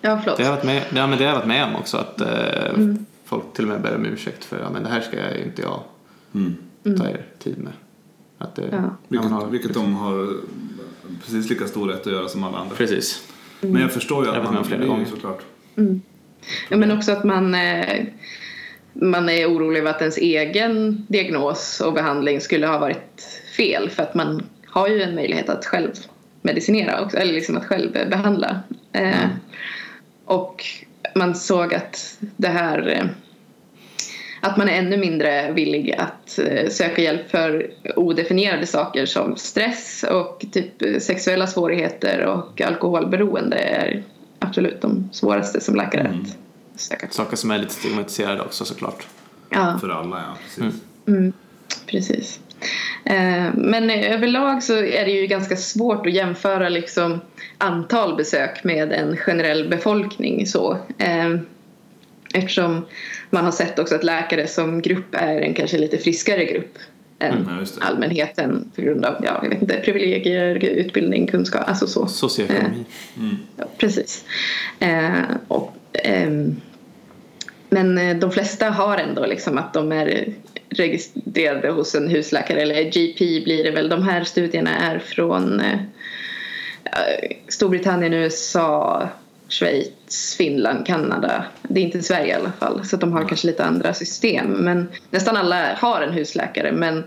[SPEAKER 3] Ja, förlåt.
[SPEAKER 1] Det har jag varit med, ja, men det har jag varit med om också att eh, folk till och med ber om ursäkt för ja, men det här ska jag inte jag ta er tid med. Att det,
[SPEAKER 3] Ja.
[SPEAKER 1] Mm. ja,
[SPEAKER 2] Mm. Vilket,
[SPEAKER 1] man har-
[SPEAKER 2] vilket de har precis lika stor rätt att göra som alla andra.
[SPEAKER 1] Precis.
[SPEAKER 2] Men jag förstår ju
[SPEAKER 1] Jag har
[SPEAKER 2] att
[SPEAKER 1] varit
[SPEAKER 2] man
[SPEAKER 1] med om flera
[SPEAKER 2] blir ju
[SPEAKER 1] gånger.
[SPEAKER 2] såklart.
[SPEAKER 3] Ja, men också att man, eh, man är orolig över att ens egen diagnos och behandling skulle ha varit fel för att man har ju en möjlighet att själv medicinera också, eller liksom att själv eh, behandla. Eh, Och man såg att det här eh, att man är ännu mindre villig att eh, söka hjälp för odefinierade saker som stress och typ eh, sexuella svårigheter och alkoholberoende är absolut de svåraste som läkare att söka.
[SPEAKER 1] Saker som är lite stigmatiserade också såklart.
[SPEAKER 3] Ja,
[SPEAKER 2] För alla, ja. Precis.
[SPEAKER 1] Mm.
[SPEAKER 3] precis. Eh, Men eh, överlag så är det ju ganska svårt att jämföra liksom antal besök med en generell befolkning så. Eh, Eftersom man har sett också att läkare som grupp är en kanske lite friskare grupp än
[SPEAKER 2] Mm, ja, just det.
[SPEAKER 3] allmänheten på grund av ja, jag vet inte, privilegier, utbildning, kunskap, alltså så.
[SPEAKER 1] Socioekonomi.
[SPEAKER 3] Ja, precis. Eh, och, ehm, men eh, de flesta har ändå liksom att de är registrerade hos en husläkare eller GP blir det väl. De här studierna är från eh, eh, Storbritannien, USA, Schweiz, Finland, Kanada. Det är inte Sverige i alla fall så att de har kanske lite andra system. Men nästan alla har en husläkare men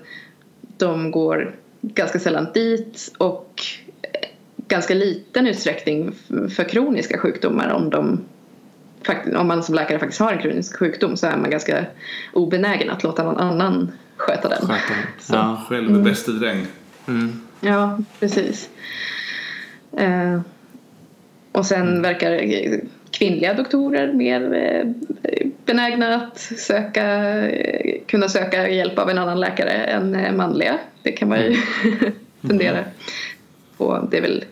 [SPEAKER 3] de går ganska sällan dit och eh, ganska liten utsträckning f- för kroniska sjukdomar om de fakt- om man som läkare faktiskt har en kronisk sjukdom så är man ganska obenägen att låta någon annan sköta den.
[SPEAKER 1] Sköta det.
[SPEAKER 3] Så.
[SPEAKER 1] Ja.
[SPEAKER 2] Själv är bäste dräng.
[SPEAKER 3] Ja, precis. Eh, och sen verkar kvinnliga doktorer mer eh, benägna att söka, eh, kunna söka hjälp av en annan läkare än eh, manliga. Det kan man ju fundera på. Det är väl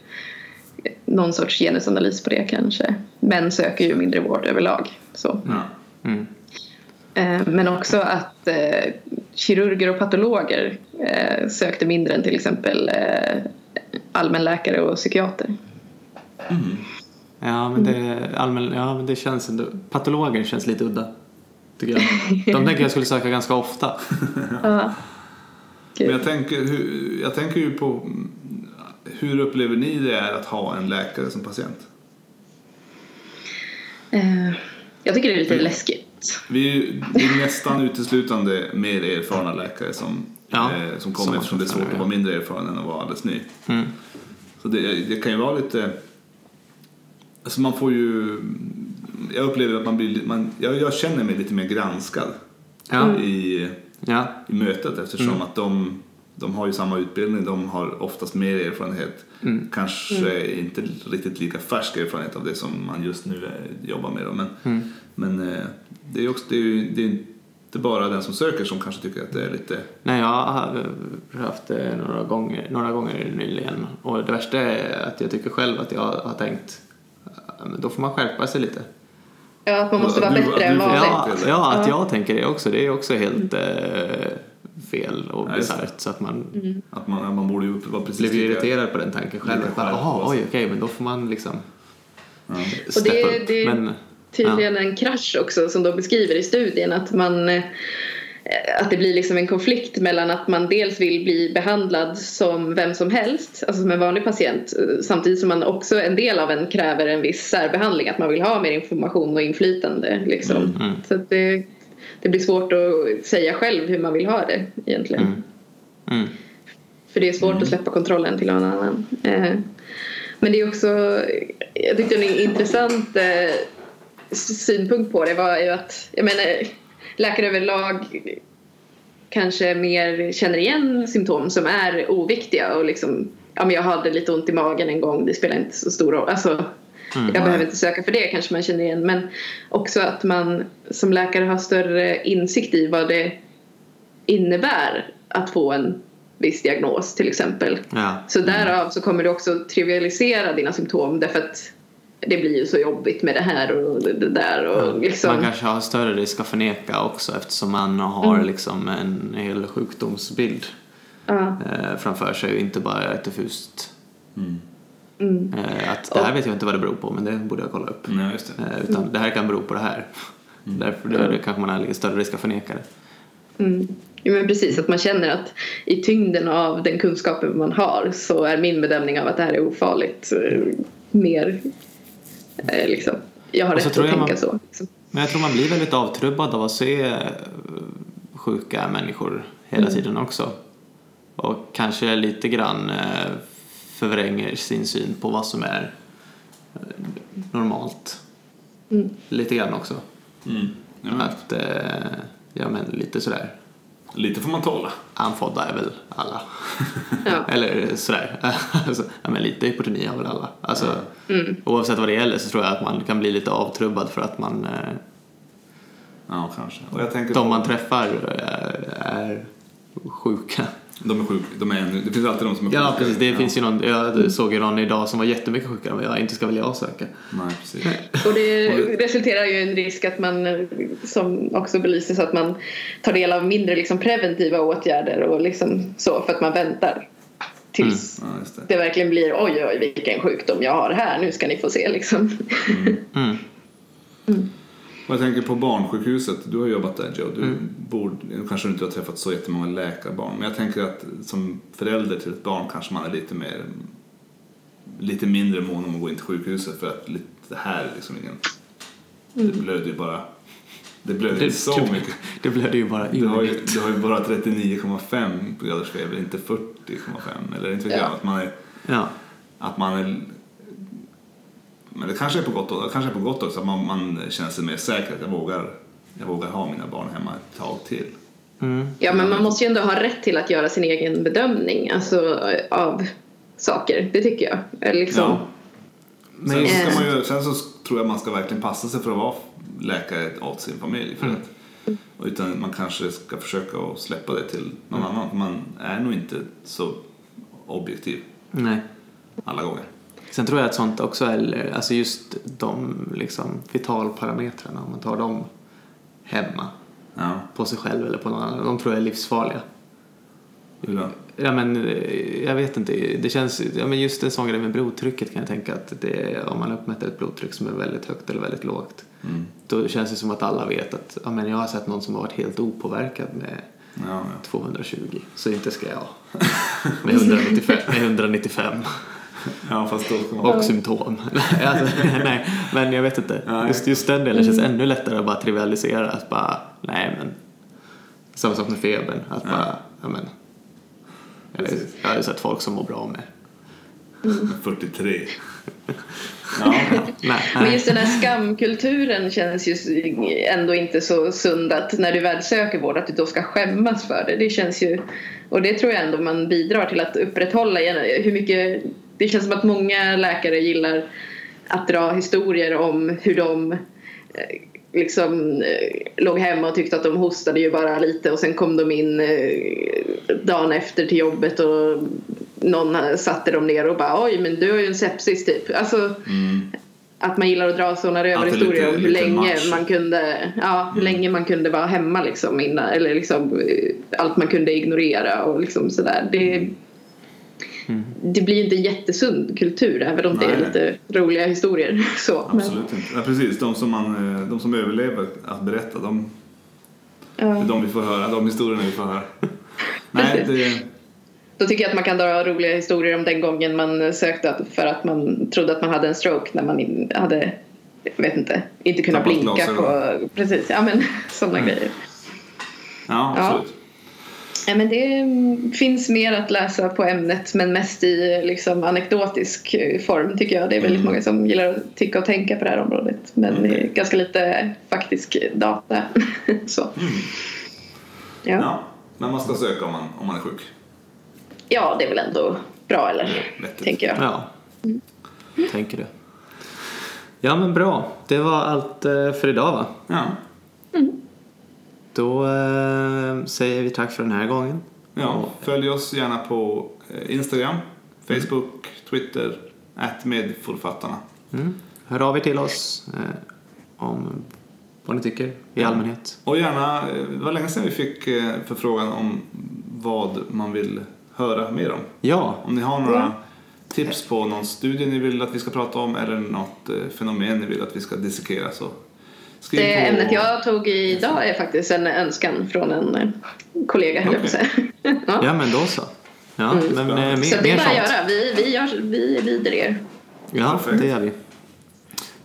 [SPEAKER 3] någon sorts genusanalys på det kanske. Män söker ju mindre vård överlag. Så.
[SPEAKER 2] Ja.
[SPEAKER 1] Mm.
[SPEAKER 3] Eh, Men också att eh, kirurger och patologer eh, sökte mindre än till exempel eh, allmänläkare och psykiater.
[SPEAKER 1] Ja, men det, allmän, ja, men det känns ändå... Patologer känns lite udda. Tycker jag. De tänker jag skulle söka ganska ofta.
[SPEAKER 2] Men jag tänker, hur- jag tänker ju på mm, hur upplever ni det är att ha en läkare som patient?
[SPEAKER 3] Eh, Jag tycker det är lite läskigt.
[SPEAKER 2] Vi är, ju, det är nästan uteslutande mer erfarna läkare som,
[SPEAKER 1] Ja,
[SPEAKER 2] eh, som
[SPEAKER 1] som
[SPEAKER 2] kommer eftersom det är
[SPEAKER 1] man får
[SPEAKER 2] svårt att
[SPEAKER 1] följa.
[SPEAKER 2] vara mindre erfaren än att vara alldeles ny.
[SPEAKER 1] Mm.
[SPEAKER 2] Så det, det kan ju vara lite... Alltså man får ju... Jag upplever att man blir... Man, jag, jag känner mig lite mer granskad
[SPEAKER 1] Ja.
[SPEAKER 2] i,
[SPEAKER 1] Ja.
[SPEAKER 2] i mötet eftersom
[SPEAKER 1] Mm.
[SPEAKER 2] att de, de har ju samma utbildning, de har oftast mer erfarenhet.
[SPEAKER 1] Mm.
[SPEAKER 2] Kanske inte riktigt lika färsk erfarenhet av det som man just nu eh, jobbar med. Då, men
[SPEAKER 1] Mm.
[SPEAKER 2] men eh, det är ju också, det är ju det är inte bara den som söker som kanske tycker att det är lite...
[SPEAKER 1] Nej, jag har haft det några gånger, några gånger nyligen. Och det värsta är att jag tycker själv att jag har tänkt "Ja, men då får man skärpa sig lite.
[SPEAKER 3] Ja, att man måste vara
[SPEAKER 2] Du-
[SPEAKER 3] bättre än
[SPEAKER 2] du- ja.
[SPEAKER 3] vanligt.
[SPEAKER 1] Ja,
[SPEAKER 2] eller?
[SPEAKER 1] ja, att jag tänker det också. Det är också
[SPEAKER 3] Mm.
[SPEAKER 1] helt eh, fel och
[SPEAKER 2] Ja, just det.
[SPEAKER 1] bisarrt. Så att man
[SPEAKER 2] Att man, man borde ju vara precis
[SPEAKER 1] blir ju
[SPEAKER 2] lika-
[SPEAKER 1] irriterad på den tanken själv.
[SPEAKER 2] Lite
[SPEAKER 1] Att bara,
[SPEAKER 2] skärp
[SPEAKER 1] aha,
[SPEAKER 2] på sig."
[SPEAKER 1] oj, okej, men då får man liksom
[SPEAKER 3] Och det,
[SPEAKER 1] steppa upp.
[SPEAKER 3] det är
[SPEAKER 1] Men,
[SPEAKER 3] tydligen en krasch också som de beskriver i studien att man eh, att det blir liksom en konflikt mellan att man dels vill bli behandlad som vem som helst, alltså som en vanlig patient eh, samtidigt som man också, en del av en kräver en viss särbehandling, att man vill ha mer information och inflytande liksom.
[SPEAKER 1] Mm.
[SPEAKER 3] Så att det, det blir svårt att säga själv hur man vill ha det egentligen.
[SPEAKER 1] Ja. Mm.
[SPEAKER 3] För det är svårt att släppa kontrollen till någon annan. Eh, Men det är också, jag tyckte en intressant eh, s- synpunkt på det var ju att, jag menar, läkare överlag kanske mer känner igen symptom som är oviktiga och liksom, ja men jag hade lite ont i magen en gång, det spelar inte så stor roll. Alltså, jag behöver inte söka för det kanske man känner igen men också att man som läkare har större insikt i vad det innebär att få en viss diagnos till exempel.
[SPEAKER 1] Ja.
[SPEAKER 3] Så därav så kommer du också trivialisera dina symptom därför att det blir ju så jobbigt med det här och det det där och liksom.
[SPEAKER 1] Man kanske har större risk att förneka också eftersom man har
[SPEAKER 3] Mm.
[SPEAKER 1] liksom en hel sjukdomsbild
[SPEAKER 3] Ja.
[SPEAKER 1] eh, framför sig och inte bara ett diffust.
[SPEAKER 3] Mm.
[SPEAKER 1] Eh, att det här vet jag inte vad det beror på men det borde jag kolla upp.
[SPEAKER 2] Nej, just det.
[SPEAKER 1] Eh, utan det här kan bero på det här. Därför då är det kanske man har större risk att förneka det.
[SPEAKER 3] Mm. Ja, men precis, att man känner att i tyngden av den kunskapen man har så är min bedömning av att det här är ofarligt eh, mer eh, liksom. Jag har
[SPEAKER 1] Och så
[SPEAKER 3] rätt
[SPEAKER 1] tror
[SPEAKER 3] att
[SPEAKER 1] jag
[SPEAKER 3] tänka
[SPEAKER 1] man-
[SPEAKER 3] så. Liksom.
[SPEAKER 1] Men jag tror man blir väldigt avtrubbad av att se eh, sjuka människor hela
[SPEAKER 3] Mm.
[SPEAKER 1] tiden också. Och kanske lite grann eh, förvränger sin syn på vad som är eh, normalt.
[SPEAKER 3] Mm.
[SPEAKER 1] Lite grann också.
[SPEAKER 2] Mm. Ja, men,
[SPEAKER 1] Att, eh, ja men lite sådär.
[SPEAKER 2] lite får man tåla.
[SPEAKER 1] Anfådda är väl alla.
[SPEAKER 3] Ja.
[SPEAKER 1] Eller sådär. alltså, ja, men lite hypotoni har väl alla. Alltså, Oavsett vad det gäller så tror jag att man kan bli lite avtrubbad för att man eh,
[SPEAKER 2] Ja, kanske. Och jag tänker
[SPEAKER 1] De
[SPEAKER 2] på-
[SPEAKER 1] man träffar är, är sjuka.
[SPEAKER 2] De är sjuka. De är ännu... Det finns alltid de som är sjuka.
[SPEAKER 1] Ja, precis. Det finns ju någon, jag såg ju någon idag som var jättemycket sjukare än vad jag inte ska vilja avsöka.
[SPEAKER 2] Nej, precis.
[SPEAKER 3] Och det resulterar ju i en risk att man, eh, som också belyses, att man tar del av mindre liksom, preventiva åtgärder och liksom så för att man väntar
[SPEAKER 1] Mm.
[SPEAKER 3] tills
[SPEAKER 2] Ja, just det.
[SPEAKER 3] det verkligen blir oj oj vilken sjukdom jag har här, nu ska ni få se liksom.
[SPEAKER 1] Mm.
[SPEAKER 2] Och jag tänker på barnsjukhuset. Du har jobbat där Joe. Du bor, nu kanske du inte har träffat så jättemånga läkarbarn. Men jag tänker att som förälder till ett barn kanske man är lite mer lite mindre mån om att gå in till sjukhuset för att lite, det här är liksom ingen... Det blöder ju bara... Det blöder
[SPEAKER 1] Det, typ
[SPEAKER 2] inte så
[SPEAKER 1] det,
[SPEAKER 2] mycket.
[SPEAKER 1] det blöder ju bara
[SPEAKER 2] Du har, ju,
[SPEAKER 1] ur.
[SPEAKER 2] du har ju bara 39,5 på graders feber, inte 40,5 eller inte vet
[SPEAKER 3] Ja.
[SPEAKER 2] jag. Att man är,
[SPEAKER 1] Ja.
[SPEAKER 2] att man är, men det kanske är på gott, det kanske är på gott också, att man, man känner sig mer säker att jag vågar, jag vågar ha mina barn hemma ett tag till.
[SPEAKER 1] Mm.
[SPEAKER 3] Ja, men man måste ju ändå ha rätt till att göra sin egen bedömning alltså, eh, av saker, det tycker jag. Eller Liksom.
[SPEAKER 2] Ja.
[SPEAKER 1] Men
[SPEAKER 2] Sen, så ska
[SPEAKER 3] Eh.
[SPEAKER 2] man ju, sen så tror jag man ska verkligen passa sig för att vara läkare åt sin familj. För
[SPEAKER 1] Mm.
[SPEAKER 2] att, utan man kanske ska försöka att släppa det till någon annan. Man är nog inte så objektiv
[SPEAKER 1] nej.
[SPEAKER 2] alla gånger.
[SPEAKER 1] Sen tror jag att sånt också är, alltså just de liksom vitalparametrarna, om man tar dem hemma
[SPEAKER 2] Ja,
[SPEAKER 1] på sig själv eller på någon annan, de tror jag är livsfarliga.
[SPEAKER 2] hur då?
[SPEAKER 1] Ja men eh, jag vet inte, det känns, ja men just en sån grej med blodtrycket kan jag tänka att det, om man uppmäter ett blodtryck som är väldigt högt eller väldigt lågt
[SPEAKER 2] Mm.
[SPEAKER 1] då känns det som att alla vet att ja, men jag har sett någon som har varit helt opåverkad med
[SPEAKER 2] Ja, ja.
[SPEAKER 1] 220 så inte ska jag med 195, med 195
[SPEAKER 2] Ja, fast då ska man...
[SPEAKER 1] och symptom. Nej, alltså, nej, men jag vet inte.
[SPEAKER 2] Nej.
[SPEAKER 1] Just, just den delen känns ännu lättare att bara trivialisera att bara nej men samma sak med febern att bara ja men jag har ju- jag har ju sett folk som mår bra med
[SPEAKER 2] 43. Ja,
[SPEAKER 1] Nej,
[SPEAKER 3] Men
[SPEAKER 1] nej.
[SPEAKER 3] just den här skamkulturen känns ju ändå inte så sund att när du väl söker vård att du då ska skämmas för det. Det känns ju, och det tror jag ändå man bidrar till att upprätthålla. igen. Hur mycket, det känns som att många läkare gillar att dra historier om hur de eh, liksom eh, låg hemma och tyckte att de hostade ju bara lite och sen kom de in eh, dagen efter till jobbet och någon satte dem ner och bara oj men du har ju en sepsis typ. Alltså, att man gillar att dra sådana
[SPEAKER 2] Att det är
[SPEAKER 3] rövarhistorier
[SPEAKER 2] Mm. lite-
[SPEAKER 3] om hur
[SPEAKER 2] lite
[SPEAKER 3] länge
[SPEAKER 2] match. Mm.
[SPEAKER 3] man kunde ja, hur länge man kunde vara hemma liksom innan, eller liksom eh, allt man kunde ignorera och liksom sådär. Det, det blir inte en jättesund kultur även om det
[SPEAKER 2] Nej.
[SPEAKER 3] är lite roliga historier. Så, men,
[SPEAKER 2] absolut inte. Ja, precis, de som, man, eh, de som överlever att berätta, de, det
[SPEAKER 3] ja.
[SPEAKER 2] är de vi får höra, de historierna vi får höra. Nej, det,
[SPEAKER 3] Då tycker jag att man kan dra roliga historier om den gången man sökte att- för att man trodde att man hade en stroke när man in- hade jag vet inte, inte kunnat
[SPEAKER 2] Tappat Mm.
[SPEAKER 3] blinka på,
[SPEAKER 2] glasögonen.
[SPEAKER 3] precis, ja men sådana grejer.
[SPEAKER 2] ja,
[SPEAKER 3] Ja.
[SPEAKER 2] absolut.
[SPEAKER 3] Ja, men det mm, finns mer att läsa på ämnet men mest i eh, liksom, anekdotisk eh, form tycker jag. Det är väldigt många som gillar att tycka och tänka på det här området men
[SPEAKER 2] Mm.
[SPEAKER 3] det är ganska lite faktisk data. Så.
[SPEAKER 2] Mm. Ja.
[SPEAKER 3] Ja.
[SPEAKER 2] Men man ska söka om man, om man är sjuk.
[SPEAKER 3] ja, det är väl ändå bra eller?
[SPEAKER 2] Mm, vettigt.
[SPEAKER 3] Tänker jag.
[SPEAKER 1] Ja, tänker du. Ja men bra, det var allt eh, för idag va?
[SPEAKER 2] Ja,
[SPEAKER 1] Då eh, säger vi tack för den här gången.
[SPEAKER 2] Ja, följ oss gärna på eh, Instagram, Facebook, Twitter, medförfattarna.
[SPEAKER 1] Mm. Hör av er till oss eh, om vad ni tycker i allmänhet.
[SPEAKER 2] Och gärna, eh, det var länge sedan vi fick eh, förfrågan om vad man vill höra mer om.
[SPEAKER 1] Ja,
[SPEAKER 2] Om ni har några
[SPEAKER 3] Ja.
[SPEAKER 2] tips på någon studie ni vill att vi ska prata om eller något eh, fenomen ni vill att vi ska dissekera så skriv
[SPEAKER 3] Det
[SPEAKER 2] på.
[SPEAKER 3] ämnet jag tog idag är faktiskt en önskan från en eh, kollega, höll jag på att säga. Ja.
[SPEAKER 1] ja men då så. Ja, men eh, mer,
[SPEAKER 3] Mm. Så det är
[SPEAKER 1] mer
[SPEAKER 3] bara att
[SPEAKER 1] sånt.
[SPEAKER 3] göra. Vi, vi, gör, vi är vidare er.
[SPEAKER 1] Ja,
[SPEAKER 2] Perfekt.
[SPEAKER 1] det gör vi.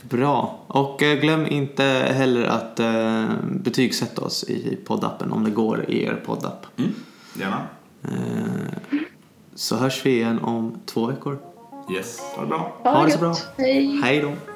[SPEAKER 1] Bra. Och eh, glöm inte heller att eh, betygsätta oss i poddappen om det går i er poddapp.
[SPEAKER 2] Mm, gärna.
[SPEAKER 1] Eh, så hörs vi igen om två veckor.
[SPEAKER 2] Yes, ha det bra.
[SPEAKER 1] Ha det så
[SPEAKER 3] gött.
[SPEAKER 1] bra.
[SPEAKER 3] Hej.
[SPEAKER 1] Hej då!